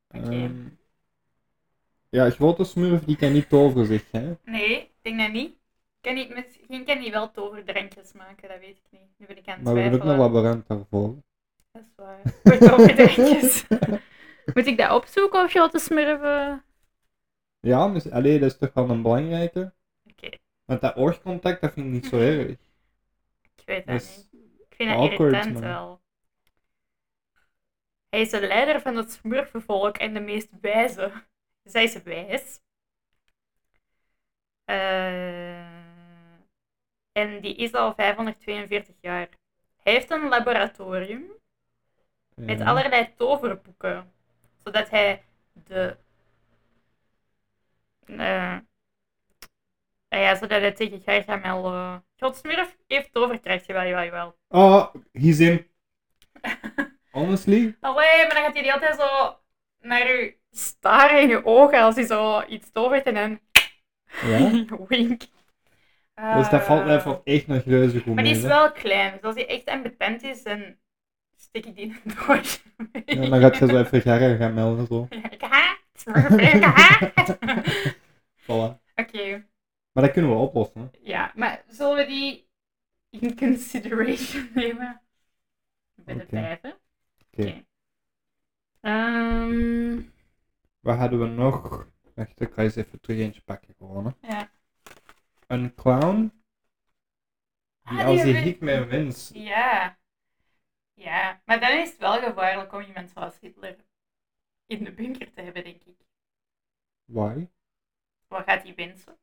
Speaker 2: Oké.
Speaker 3: Ehm, ja, grote smurf die kan niet toveren, zeg hè.
Speaker 2: Nee, denk dat niet. Kan ik, misschien kan hij wel toverdrankjes maken, dat weet ik niet. Nu ben ik aan het
Speaker 3: Maar we hebben ook
Speaker 2: twijfelen.
Speaker 3: een laborant daarvoor.
Speaker 2: Dat is waar. Voor toverdrankjes.
Speaker 1: Moet ik dat opzoeken of je wat te smurven?
Speaker 3: ja, dus, allee, dat is toch wel een belangrijke.
Speaker 2: Oké,
Speaker 3: Want dat oogcontact, dat vind ik niet zo erg.
Speaker 2: ik weet dat
Speaker 3: Dat is-
Speaker 2: niet. Ik vind dat
Speaker 3: Awkward,
Speaker 2: irritant
Speaker 3: man.
Speaker 2: wel. Hij is de leider van het smurfenvolk en de meest wijze. Zij is wijs. Eh, en die is al 542 jaar. Hij heeft een laboratorium met
Speaker 3: Ja.
Speaker 2: allerlei toverboeken. Zodat hij de. eh, nou ja, zodat hij tegen Gargamel. eh Godsmurf heeft toverkracht, jawel, jawel, jawel.
Speaker 3: Oh, he's in. Honestly?
Speaker 2: Allee, Ah, maar dan gaat hij die altijd zo naar u staren in je ogen als hij zo iets tovert en dan
Speaker 3: Ja.
Speaker 2: wink.
Speaker 3: Dus dat valt mij
Speaker 2: Eh,
Speaker 3: voor echt nog reuze goed
Speaker 2: Maar die is
Speaker 3: mee. hè.
Speaker 2: wel klein, dus als hij echt ambetant is, dan stik ik die in een doosje.
Speaker 3: Ja, dan gaat je zo even Gerra gaan melden. Zo.
Speaker 2: Ik haat, smurf, ik haat.
Speaker 3: Voilà.
Speaker 2: Oké,
Speaker 3: Maar dat kunnen we oplossen. hè.
Speaker 2: ja, maar zullen we die in consideration nemen? Ik ben de
Speaker 3: Oké.
Speaker 2: vijf, hè? Oké.
Speaker 3: Oké.
Speaker 1: Ehm,
Speaker 3: Wat hadden we nog? Wacht, ik ga eens even terug eentje pakken gewoon. hè.
Speaker 2: Ja.
Speaker 3: Een clown.
Speaker 2: Ah,
Speaker 3: Die
Speaker 2: die
Speaker 3: als hij
Speaker 2: hebben-
Speaker 3: hiek met wens.
Speaker 2: Ja. Ja, maar dan is het wel gevaarlijk om iemand zoals Hitler in de bunker te hebben, denk ik.
Speaker 3: Why?
Speaker 2: Wat gaat hij wensen?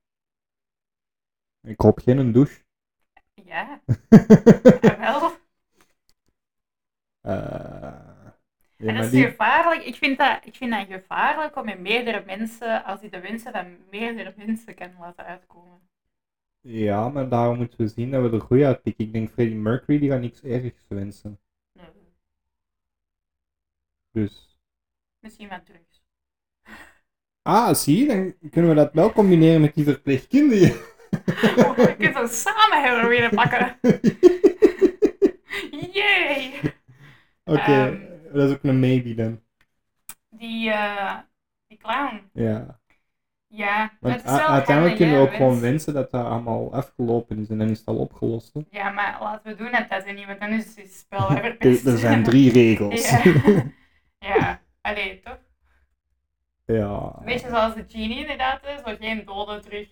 Speaker 3: Ik hoop geen een douche.
Speaker 2: Ja, wel.
Speaker 3: Eh, ja,
Speaker 2: dat
Speaker 3: maar
Speaker 2: is
Speaker 3: die,
Speaker 2: gevaarlijk. Ik vind dat, ik vind dat gevaarlijk om met meerdere mensen, als hij de wensen van meerdere mensen kan laten uitkomen.
Speaker 3: ja, maar daarom moeten we zien dat we er goed uitpikken. Ik denk Freddie Mercury die gaat niks ergs wensen.
Speaker 2: Nee.
Speaker 3: Dus.
Speaker 2: Misschien wat drugs.
Speaker 3: Ah, zie, dan kunnen we dat wel combineren met die verpleegkundige.
Speaker 2: Oh, je kunt er samen heroïne pakken. Yay!
Speaker 3: Oké,
Speaker 2: Ehm.
Speaker 3: dat is ook een maybe dan.
Speaker 2: Die, eh, die clown.
Speaker 3: Ja.
Speaker 2: Ja,
Speaker 3: Want
Speaker 2: dat is
Speaker 3: u-
Speaker 2: wel
Speaker 3: uiteindelijk
Speaker 2: handig,
Speaker 3: kunnen
Speaker 2: hè,
Speaker 3: we ook gewoon
Speaker 2: wens.
Speaker 3: wensen dat dat allemaal afgelopen is en dan is het al opgelost. hè.
Speaker 2: Ja, maar laten we doen dat dat niet, want dan is het spel weer verpest.
Speaker 3: Er, er zijn drie regels.
Speaker 2: Ja. ja, allee, toch?
Speaker 3: ja.
Speaker 2: Een beetje zoals de genie inderdaad, hè, zo geen doden terug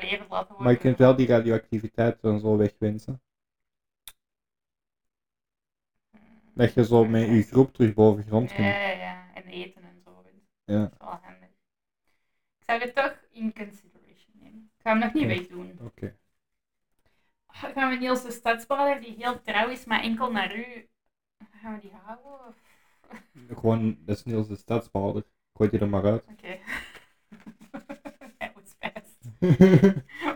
Speaker 2: levend laten worden.
Speaker 3: Maar je kunt wel die radioactiviteit dan zo wegwensen. Dat je zo met je groep terug boven grond
Speaker 2: Mm. Ja,
Speaker 3: kunt.
Speaker 2: ja, ja, en eten en zo. hè.
Speaker 3: Ja.
Speaker 2: Dat is wel handig. Ik zou dit toch in consideration nemen. Ik ga hem nog niet
Speaker 3: Oké.
Speaker 2: wegdoen.
Speaker 3: Oké.
Speaker 2: Oh, gaan we Niels de stadsballer, die heel trouw is, maar enkel naar u, gaan we die houden? Of...
Speaker 3: Gewoon, dat is Niels de stadsbouwer. Gooi je er maar uit.
Speaker 2: Oké. Dat was best.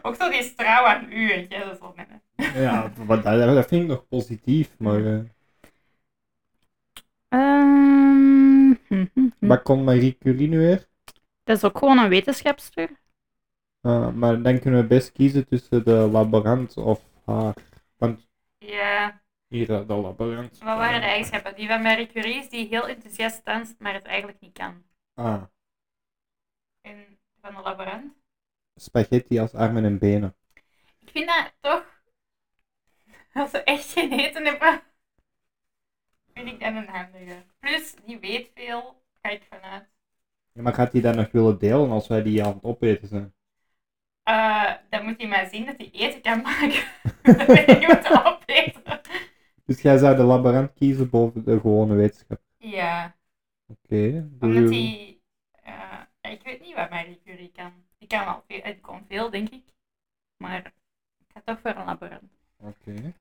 Speaker 2: Ook zo die is trouw aan u, weet je, dat is wel minder.
Speaker 3: ja, wat, dat, dat vind ik nog positief, maar eh,
Speaker 1: ehm, hm, hm, hm.
Speaker 3: wat kon Marie Curie nu weer?
Speaker 1: Dat is ook gewoon een wetenschapster.
Speaker 3: Ah, maar dan kunnen we best kiezen tussen de laborant of haar. Want
Speaker 2: Ja,
Speaker 3: hier, eh, de laborant.
Speaker 2: wat waren de eigenschappen? Die van Marie Curie is die heel enthousiast danst, maar het eigenlijk niet kan.
Speaker 3: Ah,
Speaker 2: En van de laborant?
Speaker 3: spaghetti als armen en benen.
Speaker 2: Ik vind dat toch, als ze echt geen eten hebben, vind ik dat een handige. Plus, die weet veel, ga ik vanuit.
Speaker 3: Ja, maar gaat hij dat nog willen delen als wij die aan het opeten zijn?
Speaker 2: Eh, dan moet hij maar zien dat hij eten kan maken. dat ben ik moet opeten.
Speaker 3: Dus jij zou de laborant kiezen boven de gewone wetenschap.
Speaker 2: Ja,
Speaker 3: Oké.
Speaker 2: omdat
Speaker 3: dus-
Speaker 2: hij... eh, ik weet niet wat Marie Curie kan. Die kan wel veel, die kon veel, denk ik. Maar ik ga toch voor een laborant.
Speaker 3: Oké.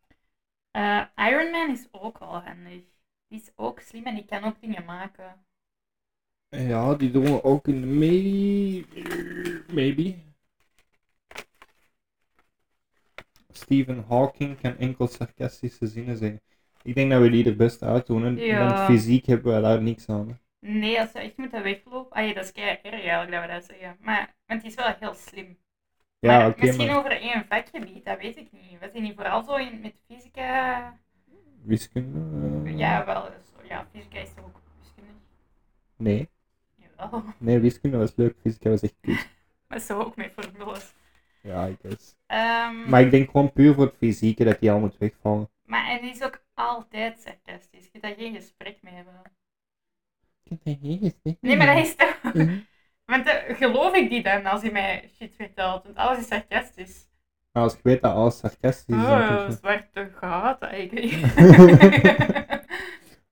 Speaker 2: Eh, Iron Man is ook wel handig. Die is ook slim en die kan ook dingen maken.
Speaker 3: Ja, die doen we ook in de may... maybe. Stephen Hawking kan enkel sarcastische zinnen zeggen. Ik denk dat we die er best uit doen. hè.
Speaker 2: Ja.
Speaker 3: Want fysiek hebben we daar niks aan. hè.
Speaker 2: Nee, als we echt moeten weglopen. Ah ja, dat is kei erg eigenlijk dat we dat zeggen. Maar, want die is wel heel slim.
Speaker 3: Ja,
Speaker 2: maar,
Speaker 3: oké,
Speaker 2: misschien
Speaker 3: maar
Speaker 2: over één vakgebied, dat weet ik niet. Was hij niet vooral zo in, met fysica?
Speaker 3: wiskunde? eh,
Speaker 2: Ja, wel. Zo, ja, fysica is toch ook wiskunde?
Speaker 3: Nee.
Speaker 2: Jawel.
Speaker 3: nee, wiskunde was leuk. Fysica was echt kut.
Speaker 2: Maar zo ook met formules.
Speaker 3: Ja, I guess.
Speaker 2: Ehm,
Speaker 3: Maar ik denk gewoon puur voor het fysieke dat die al moet wegvallen.
Speaker 2: Maar hij is ook altijd sarcastisch. Je kunt daar geen gesprek mee hebben. Nee, maar dat is toch... Want eh, geloof ik die dan als hij mij shit vertelt? Want alles is sarcastisch.
Speaker 3: Maar als ik weet dat alles sarcastisch is, dan
Speaker 2: Oh,
Speaker 3: denk ik,
Speaker 2: zwarte gaten eigenlijk.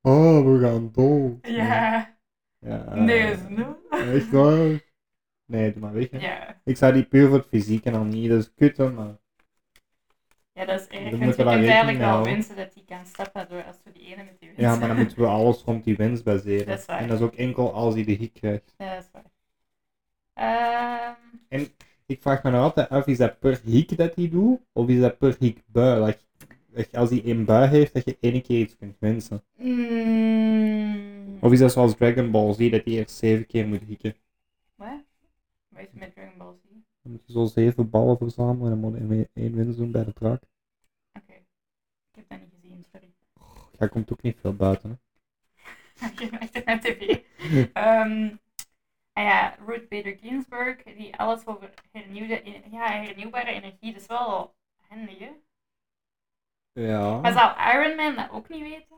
Speaker 3: oh, we gaan dood.
Speaker 2: ja,
Speaker 3: Ja, Eh.
Speaker 2: nee, is no.
Speaker 3: Echt waar? Nee, doe maar weg. hè.
Speaker 2: Ja.
Speaker 3: Ik zou die puur voor het fysiek en dan niet, dat is kut hoor, maar...
Speaker 2: ja, dat is erg.
Speaker 3: Dan
Speaker 2: Want
Speaker 3: moeten
Speaker 2: je
Speaker 3: we daar
Speaker 2: kunt
Speaker 3: rekening
Speaker 2: eigenlijk
Speaker 3: mee
Speaker 2: wel
Speaker 3: houden.
Speaker 2: wensen dat hij kan stappen door als we die ene met die wens.
Speaker 3: Ja, maar dan moeten we alles rond die winst baseren.
Speaker 2: Dat is waar.
Speaker 3: En dat is ook enkel als hij de hik krijgt.
Speaker 2: Ja, dat is waar. Ehm,
Speaker 3: Ik vraag me nou altijd af, is dat per hik dat hij doet? Of is dat per hik bui? Dat je- dat je als hij één bui heeft, dat je één keer iets kunt wensen.
Speaker 2: mm,
Speaker 3: Of is dat zoals Dragon Ball Z, dat hij eerst zeven keer moet hikken?
Speaker 2: Wat? Wat is er met Dragon Ball Z?
Speaker 3: Dan moet je zo zeven ballen verzamelen en dan moet je één- één winst doen bij de draak.
Speaker 2: Oké. Ik heb dat niet gezien, sorry.
Speaker 3: Hij komt ook niet veel buiten. Hè?
Speaker 2: Ik ben echt naar tv. Ehm, ah ja, Ruth Bader Ginsburg, die alles over hernieuwde, en- ja, hernieuwbare energie, dat is wel handig, hè? Maar
Speaker 3: Ja.
Speaker 2: zou Iron Man dat ook niet weten?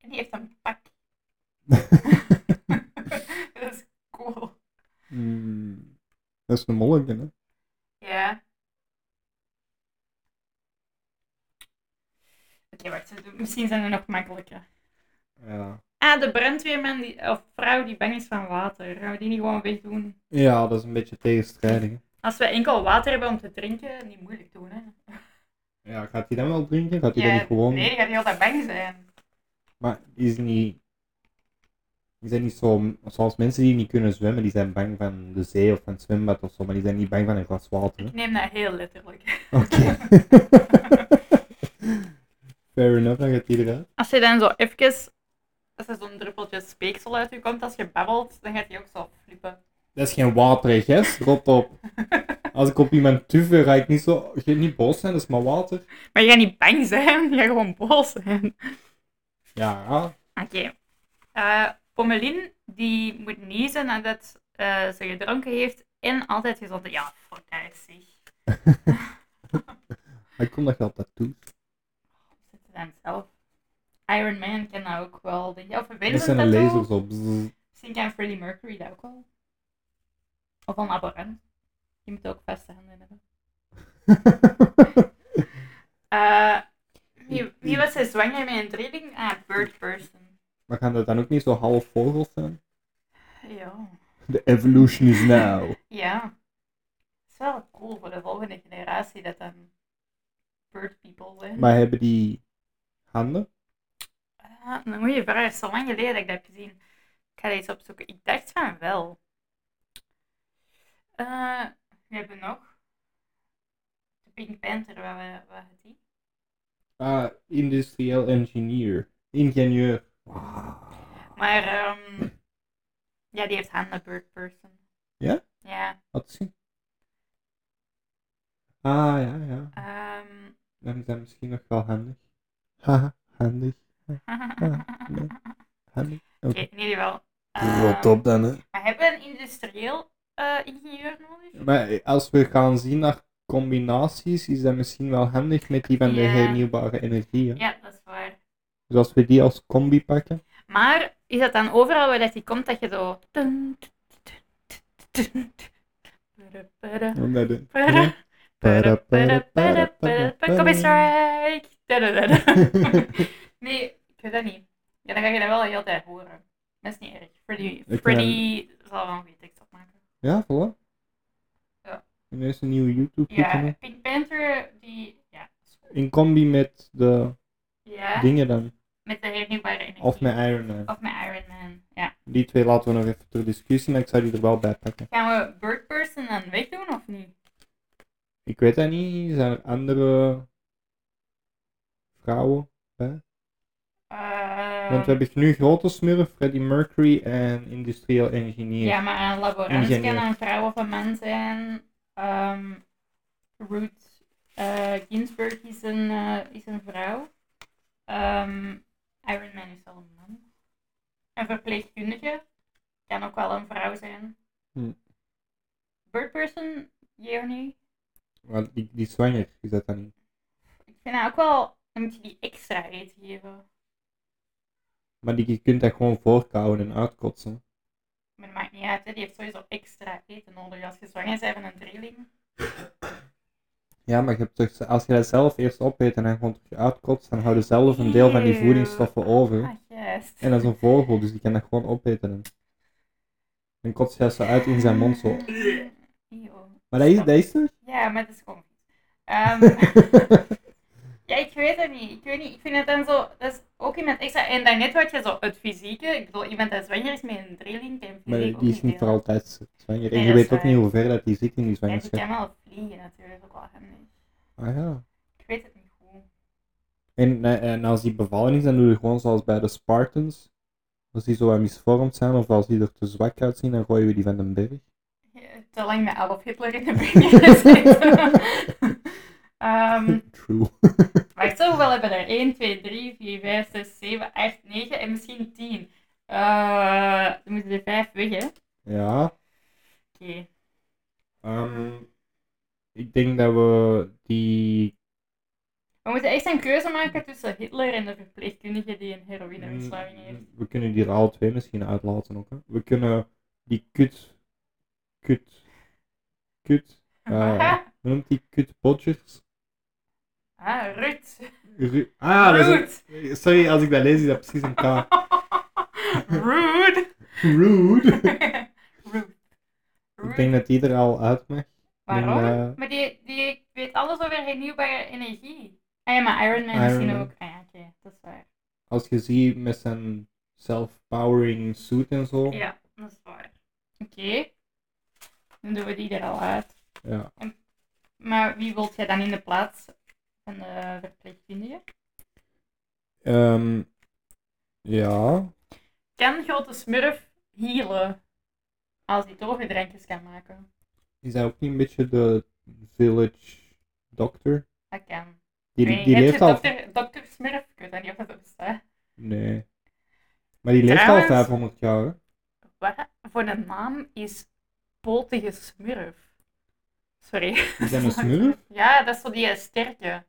Speaker 2: En die heeft een pak. dat is cool.
Speaker 3: Hmm. Dat is een molletje, hè?
Speaker 2: Ja. Oké, wacht, ze doen- misschien zijn er nog makkelijker.
Speaker 3: Ja.
Speaker 2: Ah, de brandweerman, die, of vrouw die bang is van water. Gaan we die niet gewoon wegdoen?
Speaker 3: Ja, dat is een beetje tegenstrijdig. hè.
Speaker 2: Als we enkel water hebben om te drinken, niet moeilijk doen, hè?
Speaker 3: Ja, gaat hij dan wel drinken? Gaat hij dan niet gewoon...
Speaker 2: Nee, die gaat heel tijd bang zijn.
Speaker 3: Maar is niet. Die zijn niet zo. Zoals mensen die niet kunnen zwemmen, die zijn bang van de zee of van het zwembad of zo, maar die zijn niet bang van een glas water. hè.
Speaker 2: Ik neem dat heel letterlijk.
Speaker 3: Oké. Fair enough, dan gaat die eruit.
Speaker 2: Als je dan zo even, als er zo'n druppeltje speeksel uit je komt als je babbelt, dan gaat hij ook zo flippen.
Speaker 3: Dat is geen waterig, hè? Rot op. Als ik op iemand tuffe, ga ik niet zo. Ik ga niet boos zijn, dat is maar water.
Speaker 2: Maar je gaat niet bang zijn, je gaat gewoon boos zijn.
Speaker 3: Ja, ja.
Speaker 2: Oké. Eh, Pommelien, die moet niezen nadat eh, ze gedronken heeft en altijd gezond. Ja, fuck, dat is zich.
Speaker 3: Maar ik kom dat je altijd toe.
Speaker 2: Zit ze dan zelf. Iron Man kan dat ook wel, denk je. Of
Speaker 3: Dat
Speaker 2: Vincent
Speaker 3: zijn de
Speaker 2: dat ook.
Speaker 3: lasers op.
Speaker 2: Misschien kan Freddie Mercury dat ook wel. Of een aberrant. Die moet ook vaste handen hebben. Eh, wie, wie was hij zwanger met een tweeling? Ah, Bird Person.
Speaker 3: maar gaan dat dan ook niet zo half vogels zijn?
Speaker 2: Ja.
Speaker 3: The evolution is now.
Speaker 2: Ja. Het is wel cool voor de volgende generatie dat dan Bird People zijn.
Speaker 3: Maar hebben die handen?
Speaker 2: Ah, een goede vraag. Zo lang geleden dat ik dat heb gezien. Ik ga dat eens opzoeken. Ik dacht van wel. Eh, we hebben nog. De Pink Panther, waar, we- waar had die?
Speaker 3: Ah, industrieel engineer. Ingenieur.
Speaker 2: Maar ehm, ja, die heeft handen, Bird Person.
Speaker 3: Ja?
Speaker 2: Ja.
Speaker 3: Wat is hij? Ah, ja, ja.
Speaker 2: ehm,
Speaker 3: Dan is dat misschien nog wel handig. Haha, handig, nee. handig.
Speaker 2: Oké, in ieder geval.
Speaker 3: Rot
Speaker 2: ehm,
Speaker 3: op dan, hè.
Speaker 2: Maar hebben we een industrieel eh, ingenieur nodig?
Speaker 3: Maar als we gaan zien naar combinaties, is dat misschien wel handig met die van de
Speaker 2: Ja.
Speaker 3: hernieuwbare energie. hè.
Speaker 2: Ja, dat is waar.
Speaker 3: Dus als we die als combi pakken.
Speaker 2: Maar is dat dan overal waar dat die komt dat je zo.
Speaker 3: dan dat het-
Speaker 2: Copy strike! Nee, ik weet dat niet. Ja, dan ga je dat wel heel tijd horen. Dat is niet erg. Freddy,
Speaker 3: Ik,
Speaker 2: Freddy zal wel een goede tekst opmaken.
Speaker 3: Ja, voilà.
Speaker 2: Ja.
Speaker 3: En er is een nieuwe YouTube
Speaker 2: Ja, Pink Panther, die. Ja, is goed.
Speaker 3: In combi met de
Speaker 2: ja
Speaker 3: dingen dan.
Speaker 2: met de hernieuwbare energie.
Speaker 3: Of met Iron Man.
Speaker 2: Of met Iron Man. Ja.
Speaker 3: Die twee laten we nog even ter discussie, maar ik zou die er wel bij pakken.
Speaker 2: Gaan we Bird Person dan wegdoen of niet?
Speaker 3: Ik weet dat niet. Zijn er andere vrouwen?
Speaker 2: Eh,
Speaker 3: Want we hebben nu grote smurf, Freddie Mercury en industrieel engineer.
Speaker 2: Ja, maar een laborant
Speaker 3: Ingenieur.
Speaker 2: kan een vrouw of een man zijn. Ehm Ruth eh, Ginsburg is een, eh, is een vrouw. Ehm, Iron Man is wel een man. Een verpleegkundige kan ook wel een vrouw zijn.
Speaker 3: Hm.
Speaker 2: Bird person, jee of nee?
Speaker 3: Maar die, die is zwanger is dat dan niet.
Speaker 2: Ik vind dat ook wel, dan moet je die extra eten geven.
Speaker 3: Maar die, je kunt dat gewoon voorkouwen en uitkotsen.
Speaker 2: Maar dat maakt niet uit, hè. die heeft sowieso extra eten nodig als je zwanger bent van een drieling.
Speaker 3: Ja, maar je hebt toch, als je dat zelf eerst opeet en dan gewoon terug uitkotst, dan houden zelf een deel van die
Speaker 2: Eeuw.
Speaker 3: voedingsstoffen over.
Speaker 2: Ah, juist.
Speaker 3: En dat is een vogel, dus die kan dat gewoon opeten. En dan kotst hij zo uit in zijn mond zo.
Speaker 2: Eeuw.
Speaker 3: Maar dat is, dat is toch?
Speaker 2: Ja, maar dat is gewoon vies. Ehm, Ja, ik weet het niet. Ik weet niet. Ik vind het dan zo. Dat is ook iemand extra. En daarnet had je zo het fysieke. Ik bedoel, iemand dat zwanger is met een drilling kan
Speaker 3: maar
Speaker 2: fysiek ook
Speaker 3: die is niet voor
Speaker 2: veel.
Speaker 3: altijd zwanger. En
Speaker 2: Nee,
Speaker 3: je
Speaker 2: dat
Speaker 3: weet
Speaker 2: is
Speaker 3: ook
Speaker 2: waar.
Speaker 3: niet hoe ver dat die zit in die
Speaker 2: Ja, die
Speaker 3: zwangerschap.
Speaker 2: kan wel vliegen natuurlijk ook wel handig.
Speaker 3: Ah ja.
Speaker 2: Ik weet het niet hoe.
Speaker 3: En, eh, en als die bevallen is, dan doe je gewoon zoals bij de Spartans. Als die zo wat misvormd zijn of als die er te zwak uitzien, dan gooien we die van den berg.
Speaker 2: Je- Te lang met Adolf Hitler in de bringer gezeten. Ehm,
Speaker 3: True.
Speaker 2: wacht zo, hoeveel hebben we er? 1, 2, 3, 4, 5, 6, 7, 8, 9 en misschien 10. Eh, dan moeten er 5 weg, hè? Oké.
Speaker 3: Ja. ehm, ik denk dat we die.
Speaker 2: We moeten echt een keuze maken tussen Hitler en de verpleegkundige die een heroïneverslaving heeft.
Speaker 3: We kunnen die er alle twee misschien uitlaten ook. Hè. We kunnen die kut. Kut. Kut. eh, hoe noemt die kut Bodgers?
Speaker 2: Ah, Ruud.
Speaker 3: Ru- ah, dat is
Speaker 2: Ruud.
Speaker 3: een- Sorry, als ik dat lees, is dat precies een K.
Speaker 2: Ruud.
Speaker 3: Rude.
Speaker 2: Ruud.
Speaker 3: ik denk
Speaker 2: Ruud.
Speaker 3: dat die er al uit mag.
Speaker 2: Waarom?
Speaker 3: Ik denk, eh,
Speaker 2: Maar die, die weet alles over hernieuwbare energie. Ah ja, maar Iron Man
Speaker 3: Iron
Speaker 2: misschien
Speaker 3: Man.
Speaker 2: ook. Ah ja, oké, dat is waar.
Speaker 3: als je ziet met zijn self-powering suit en zo.
Speaker 2: Ja, dat is waar. Oké. Dan doen we die er al uit.
Speaker 3: Ja.
Speaker 2: Maar wie wilt jij dan in de plaats van de verpleegkundige?
Speaker 3: Ehm, ja.
Speaker 2: Kan grote smurf healen? Als hij toverdrankjes kan maken.
Speaker 3: Is hij ook niet een beetje de village doctor?
Speaker 2: Dat kan.
Speaker 3: Die,
Speaker 2: Ik weet
Speaker 3: die
Speaker 2: niet, heb
Speaker 3: leeft
Speaker 2: je
Speaker 3: al...
Speaker 2: dokter, dokter Smurf? Ik weet dat niet of dat bestaat.
Speaker 3: Nee. Maar die leeft
Speaker 2: Trouwens-
Speaker 3: al 500 jaar. hè?
Speaker 2: Wat voor een naam is potige Smurf? Sorry.
Speaker 3: Is dat een smurf?
Speaker 2: Ja, dat is zo die eh, sterke.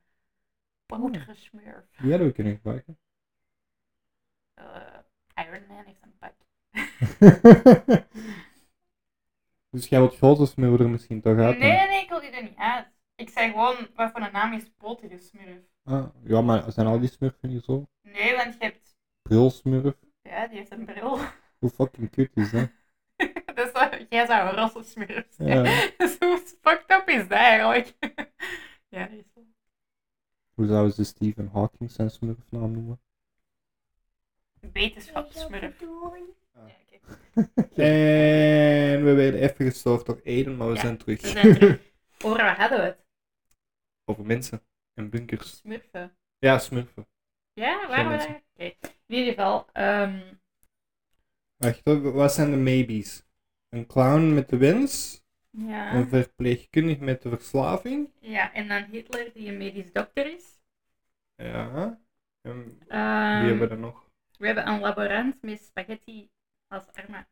Speaker 2: Potige Smurf.
Speaker 3: Die hadden we kunnen gebruiken.
Speaker 2: Eh, Iron Man heeft een pak.
Speaker 3: dus jij wilt grote smurder misschien toch uit?
Speaker 2: Nee,
Speaker 3: dan?
Speaker 2: nee, nee, ik wil die er niet uit. Ik zei gewoon, wat voor een naam is potige Smurf?
Speaker 3: Ah, ja, maar zijn al die smurfen hier zo?
Speaker 2: Nee, want je hebt...
Speaker 3: Brilsmurf?
Speaker 2: Ja, die heeft een bril.
Speaker 3: Hoe fucking cute is dat?
Speaker 2: Dus eh, jij zou een rosse smurf zijn.
Speaker 3: Ja.
Speaker 2: Dus hoe fucked up is dat eigenlijk? ja, dat is wel.
Speaker 3: Hoe zouden ze Stephen Hawking zijn smurfnaam noemen?
Speaker 2: Wetenschapssmurf.
Speaker 3: Ah.
Speaker 2: Ja, oké.
Speaker 3: En we werden even gestoord door Eden, maar we
Speaker 2: Ja,
Speaker 3: zijn terug.
Speaker 2: we zijn terug. Over wat hadden we het?
Speaker 3: Over mensen en bunkers.
Speaker 2: Smurfen.
Speaker 3: Ja, smurfen.
Speaker 2: Ja, waren we
Speaker 3: Zo
Speaker 2: daar? Oké. In ieder geval, ehm,
Speaker 3: Wacht, wat- wat zijn de maybes? Een clown met de wens,
Speaker 2: ja.
Speaker 3: een verpleegkundige met de verslaving.
Speaker 2: ja, en dan Hitler die een medisch dokter is.
Speaker 3: Ja. En wie
Speaker 2: Ehm,
Speaker 3: hebben we er nog?
Speaker 2: we hebben een laborant met spaghetti als arma.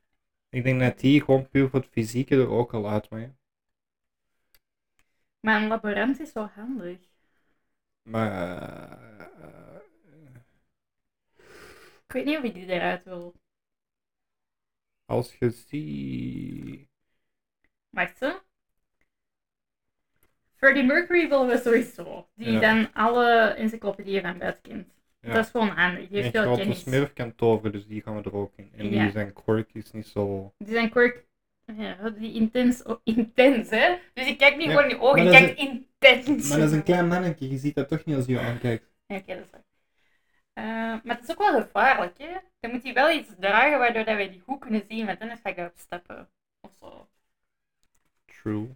Speaker 3: Ik denk dat die gewoon puur voor het fysieke er ook al uit mee.
Speaker 2: Maar een laborant is zo handig.
Speaker 3: Maar. eh,
Speaker 2: Ik weet niet of ik die eruit wil.
Speaker 3: als je ziet.
Speaker 2: Wacht zo. Freddie Mercury willen we sowieso. Die
Speaker 3: Ja.
Speaker 2: dan alle encyclopedieën van buiten kent.
Speaker 3: Ja.
Speaker 2: Dat is gewoon handig. Die
Speaker 3: Een
Speaker 2: heeft veel
Speaker 3: grote
Speaker 2: kennis.
Speaker 3: smurf kan toveren, dus die gaan we er ook in. En
Speaker 2: Ja.
Speaker 3: die zijn quirk is niet zo.
Speaker 2: Die zijn quirk. Ja, die intens. oh, intens, hè? Dus ik kijk niet
Speaker 3: Ja,
Speaker 2: gewoon in die ogen, ik
Speaker 3: maar dat
Speaker 2: kijk intens.
Speaker 3: klein mannetje, je ziet dat toch niet als je aankijkt.
Speaker 2: Ja, Oké, dat is waar. Eh, maar het is ook wel gevaarlijk, hè? Dan moet hij wel iets dragen waardoor dat wij die goed kunnen zien, want anders ga ik erop stappen. Of zo.
Speaker 3: True.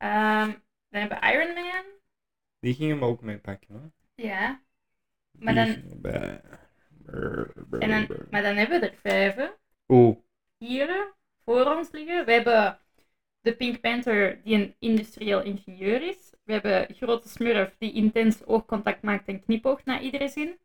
Speaker 2: Ehm, dan hebben we Iron Man.
Speaker 3: Die gingen we ook mee pakken, hoor.
Speaker 2: Ja. Maar
Speaker 3: Die
Speaker 2: dan,
Speaker 3: gingen bij-
Speaker 2: en dan, maar dan hebben we er vijf, hè?
Speaker 3: Oeh,
Speaker 2: hier voor ons liggen. We hebben de Pink Panther, die een industrieel ingenieur is. We hebben Grote Smurf, die intens oogcontact maakt en knipoogt naar iedere zin.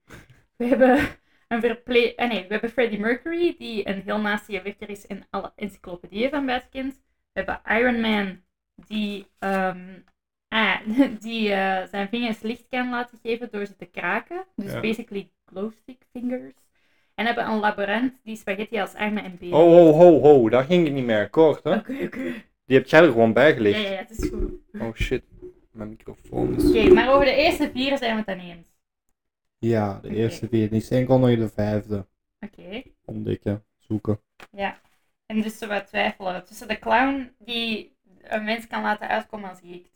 Speaker 2: We hebben, een eh, verple- ah nee, we hebben Freddie Mercury, die een heel nastie werker is en alle encyclopedieën van buiten kent. We hebben Iron Man die, ehm, ah, die eh, zijn vingers licht kan laten geven door ze te kraken. Dus
Speaker 4: Ja.
Speaker 2: basically glow stick fingers. En hebben een laborant die spaghetti als armen en benen.
Speaker 4: Ho, Oh, ho, ho, ho, daar ging ik niet meer akkoord, hè?
Speaker 2: Oké, oké.
Speaker 4: Die heb jij er gewoon bij
Speaker 2: Ja,
Speaker 4: gelegd.
Speaker 2: ja, ja, het is goed. Oké,
Speaker 4: Oh shit, mijn microfoon is...
Speaker 2: maar over de eerste vier zijn we het dan eens.
Speaker 3: Ja, de
Speaker 2: Oké.
Speaker 3: eerste vier. Die is enkel nog de vijfde.
Speaker 2: Oké.
Speaker 3: Ontdekken, zoeken.
Speaker 2: En dus zo wat twijfelen. Tussen de clown die een mens kan laten uitkomen als hij hikt.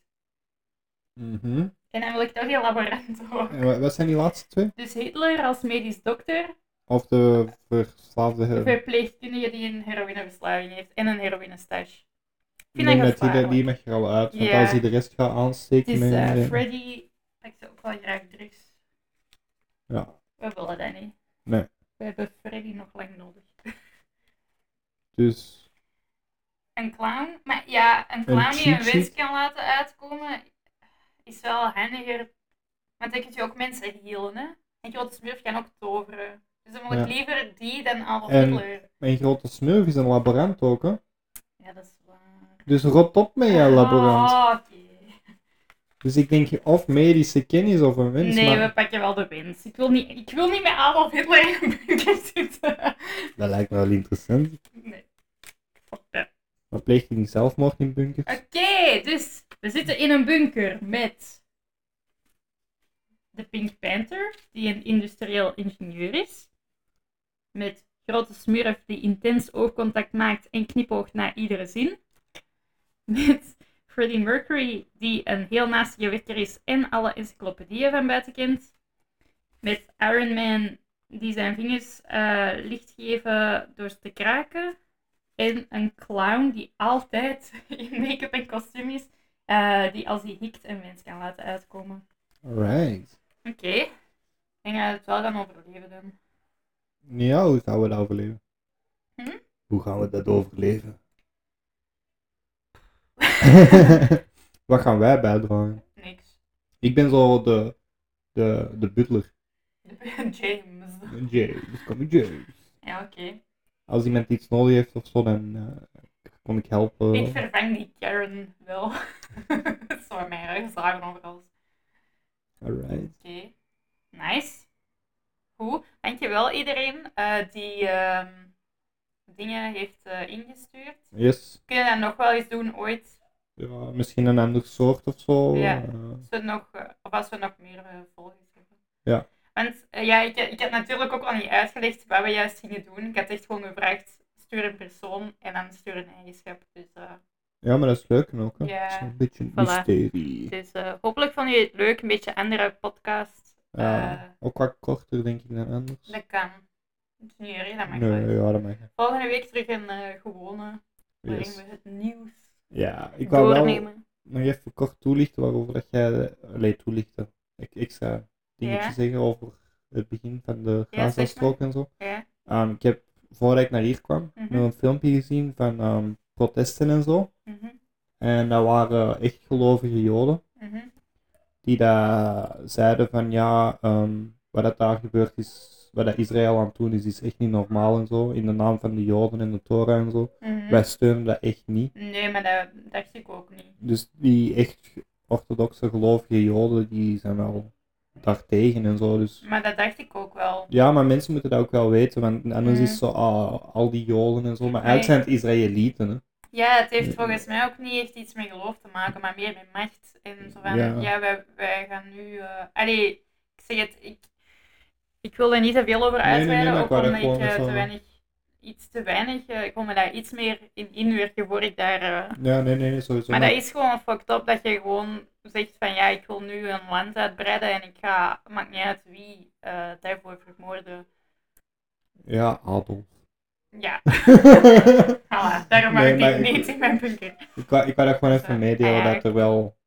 Speaker 3: Mhm.
Speaker 2: En dan wil ik toch die laborant hoor.
Speaker 3: En wa- wat zijn die laatste twee?
Speaker 2: Dus Hitler als medisch dokter,
Speaker 3: Of de verslaafde...
Speaker 2: een verpleegkundige die een heroïneverslaving heeft en een heroïnestash.
Speaker 3: Ik
Speaker 2: vind dat
Speaker 3: denk dat die,
Speaker 2: gevaarlijk.
Speaker 3: die mag er al uit. Want
Speaker 2: Ja.
Speaker 3: als hij de rest gaat
Speaker 2: Het
Speaker 3: aansteken...
Speaker 2: is
Speaker 3: met-
Speaker 2: eh,
Speaker 3: met-
Speaker 2: Freddy, ik zou ook wel graag drugs.
Speaker 3: Ja.
Speaker 2: We willen dat niet.
Speaker 3: Nee.
Speaker 2: We hebben Freddy nog lang nodig.
Speaker 3: Dus...
Speaker 2: Een clown, maar ja, een clown die
Speaker 3: cheat
Speaker 2: een wens
Speaker 3: sheet?
Speaker 2: kan laten uitkomen, is wel handiger. Want dan kun je ook mensen healen, hè. En grote smurf kan ook toveren. Dus dan wil ik
Speaker 3: Ja.
Speaker 2: liever die dan Adolf
Speaker 3: En-
Speaker 2: Hitler.
Speaker 3: Mijn grote smurf is een laborant ook, hè?
Speaker 2: Ja, dat is waar.
Speaker 3: Dus rot op met jouw laborant.
Speaker 2: Ah, oké.
Speaker 3: Dus ik denk of medische kennis of een wens,
Speaker 2: Nee,
Speaker 3: maar...
Speaker 2: we pakken wel de winst. Ik wil niet, ik wil niet met Adolf Hitler in een bunker zitten.
Speaker 3: Dat lijkt me wel interessant.
Speaker 2: Nee. Fuck that.
Speaker 3: Maar pleegt hij niet zelfmoord in bunkers?
Speaker 2: Oké, dus we zitten in een bunker met de Pink Panther, die een industrieel ingenieur is. Met grote smurf die intens oogcontact maakt en knipoogt naar iedere zin. Met Freddie Mercury, die een heel naastige wekker is en alle encyclopedieën van buiten kent. Met Iron Man, die zijn vingers eh, licht geven door ze te kraken. En een clown die altijd in make-up en kostuum is, eh, die als hij hikt een mens kan laten uitkomen.
Speaker 3: Alright.
Speaker 2: Oké. Ik denk dat we het wel gaan overleven dan.
Speaker 3: Ja, hoe gaan we dat overleven?
Speaker 2: Hm?
Speaker 3: Hoe gaan we dat overleven? Wat gaan wij bijdragen?
Speaker 2: Niks.
Speaker 3: Ik ben zo de, de, de butler.
Speaker 2: James.
Speaker 3: James, kom James.
Speaker 2: Ja, oké.
Speaker 3: Als iemand iets nodig heeft of zo, dan eh, kon ik helpen.
Speaker 2: Ik vervang die Karen wel. Dat is waar mijn rug zagen overal. Oké.
Speaker 3: Alright.
Speaker 2: Nice. Goed. Dankjewel iedereen eh, die ehm, dingen heeft eh, ingestuurd.
Speaker 3: Yes.
Speaker 2: Kunnen we dat nog wel eens doen ooit?
Speaker 3: Ja, misschien een ander soort of zo.
Speaker 2: Ja.
Speaker 3: eh,
Speaker 2: Als we nog, eh, of als we nog meer eh, volgers hebben.
Speaker 3: Ja.
Speaker 2: Want eh, ja, ik, ik heb natuurlijk ook al niet uitgelegd wat we juist gingen doen. Ik had echt gewoon gevraagd, stuur een persoon en dan stuur een eigenschap. Dus, eh,
Speaker 3: ja, maar dat is leuk ook. Hè?
Speaker 2: Ja,
Speaker 3: Het is een beetje een
Speaker 2: voilà.
Speaker 3: mysterie.
Speaker 2: dus eh, hopelijk vonden jullie het leuk, een beetje andere podcast.
Speaker 3: Ja,
Speaker 2: Eh,
Speaker 3: ook wat korter denk ik dan anders.
Speaker 2: dat kan. Dat is niet erg, dat mag
Speaker 3: nee,
Speaker 2: wel.
Speaker 3: ja, dat mag.
Speaker 2: Volgende week terug een eh, gewone, waarin
Speaker 3: Yes.
Speaker 2: we het nieuws
Speaker 3: Ja, ik wou wel
Speaker 2: doornemen.
Speaker 3: nog even kort toelichten waarover dat jij... Allee, toelichten. Ik extra dingetje
Speaker 2: Ja.
Speaker 3: zeggen over het begin van de
Speaker 2: Ja, zeg
Speaker 3: Gaza-strook en zo.
Speaker 2: Ja.
Speaker 3: Ehm, ik heb, voordat ik naar hier kwam,
Speaker 2: Mhm.
Speaker 3: nog een filmpje gezien van ehm, protesten en zo.
Speaker 2: Mhm,
Speaker 3: En dat waren echt gelovige joden.
Speaker 2: mhm,
Speaker 3: die daar zeiden van ja, ehm, wat dat daar gebeurd is, wat dat Israël aan het doen is, is echt niet normaal en zo. In de naam van de Joden en de Torah en zo.
Speaker 2: mhm.
Speaker 3: Wij steunen dat echt niet.
Speaker 2: Nee, maar dat dacht ik ook niet.
Speaker 3: Dus die echt orthodoxe gelovige Joden, die zijn wel daartegen en zo. Dus
Speaker 2: Maar dat dacht ik ook wel.
Speaker 3: ja, maar mensen moeten dat ook wel weten, want anders
Speaker 2: Mhm.
Speaker 3: is zo ah, al die Joden en zo. Maar
Speaker 2: Nee.
Speaker 3: eigenlijk zijn het Israëlieten. Hè.
Speaker 2: Ja, het heeft
Speaker 3: Ja.
Speaker 2: volgens mij ook niet echt iets met geloof te maken, maar meer met macht. En zo van, ja,
Speaker 3: Ja.
Speaker 2: wij, wij gaan nu... eh, Allee, ik zeg het, ik, ik wil er niet te veel over
Speaker 3: Nee, nee, nee,
Speaker 2: uitweiden,
Speaker 3: maar ik
Speaker 2: ook
Speaker 3: wou dat
Speaker 2: omdat ik
Speaker 3: gewoon
Speaker 2: eh,
Speaker 3: even-
Speaker 2: te weinig... Iets te weinig, eh, ik wil me daar iets meer in inwerken voor ik daar... eh,
Speaker 3: Ja, nee, nee, nee, sowieso.
Speaker 2: maar dat is gewoon fucked up dat je gewoon zegt van ja, ik wil nu een land uitbreiden en ik ga, maakt niet uit wie, eh, daarvoor vermoorden.
Speaker 3: Ja, Adolf.
Speaker 2: Ja, voilà, daarom
Speaker 3: Nee,
Speaker 2: heb
Speaker 3: maar
Speaker 2: ik
Speaker 3: ik-
Speaker 2: niet in mijn bunker.
Speaker 3: Ik wou, ik wou dat gewoon even
Speaker 2: Zo,
Speaker 3: meedelen
Speaker 2: ja,
Speaker 3: dat er wel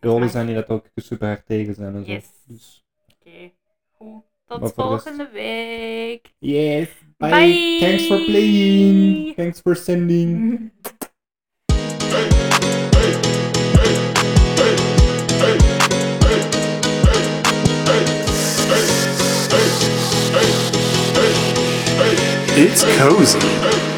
Speaker 3: joden zijn die dat ook super hard tegen zijn en zo.
Speaker 2: Yes.
Speaker 3: Dus,
Speaker 2: Oké, goed. Tot
Speaker 3: Maar voor de rest-
Speaker 2: volgende week.
Speaker 3: yes. Bye.
Speaker 2: Bye.
Speaker 3: Thanks for playing. Thanks for sending.
Speaker 4: It's cozy.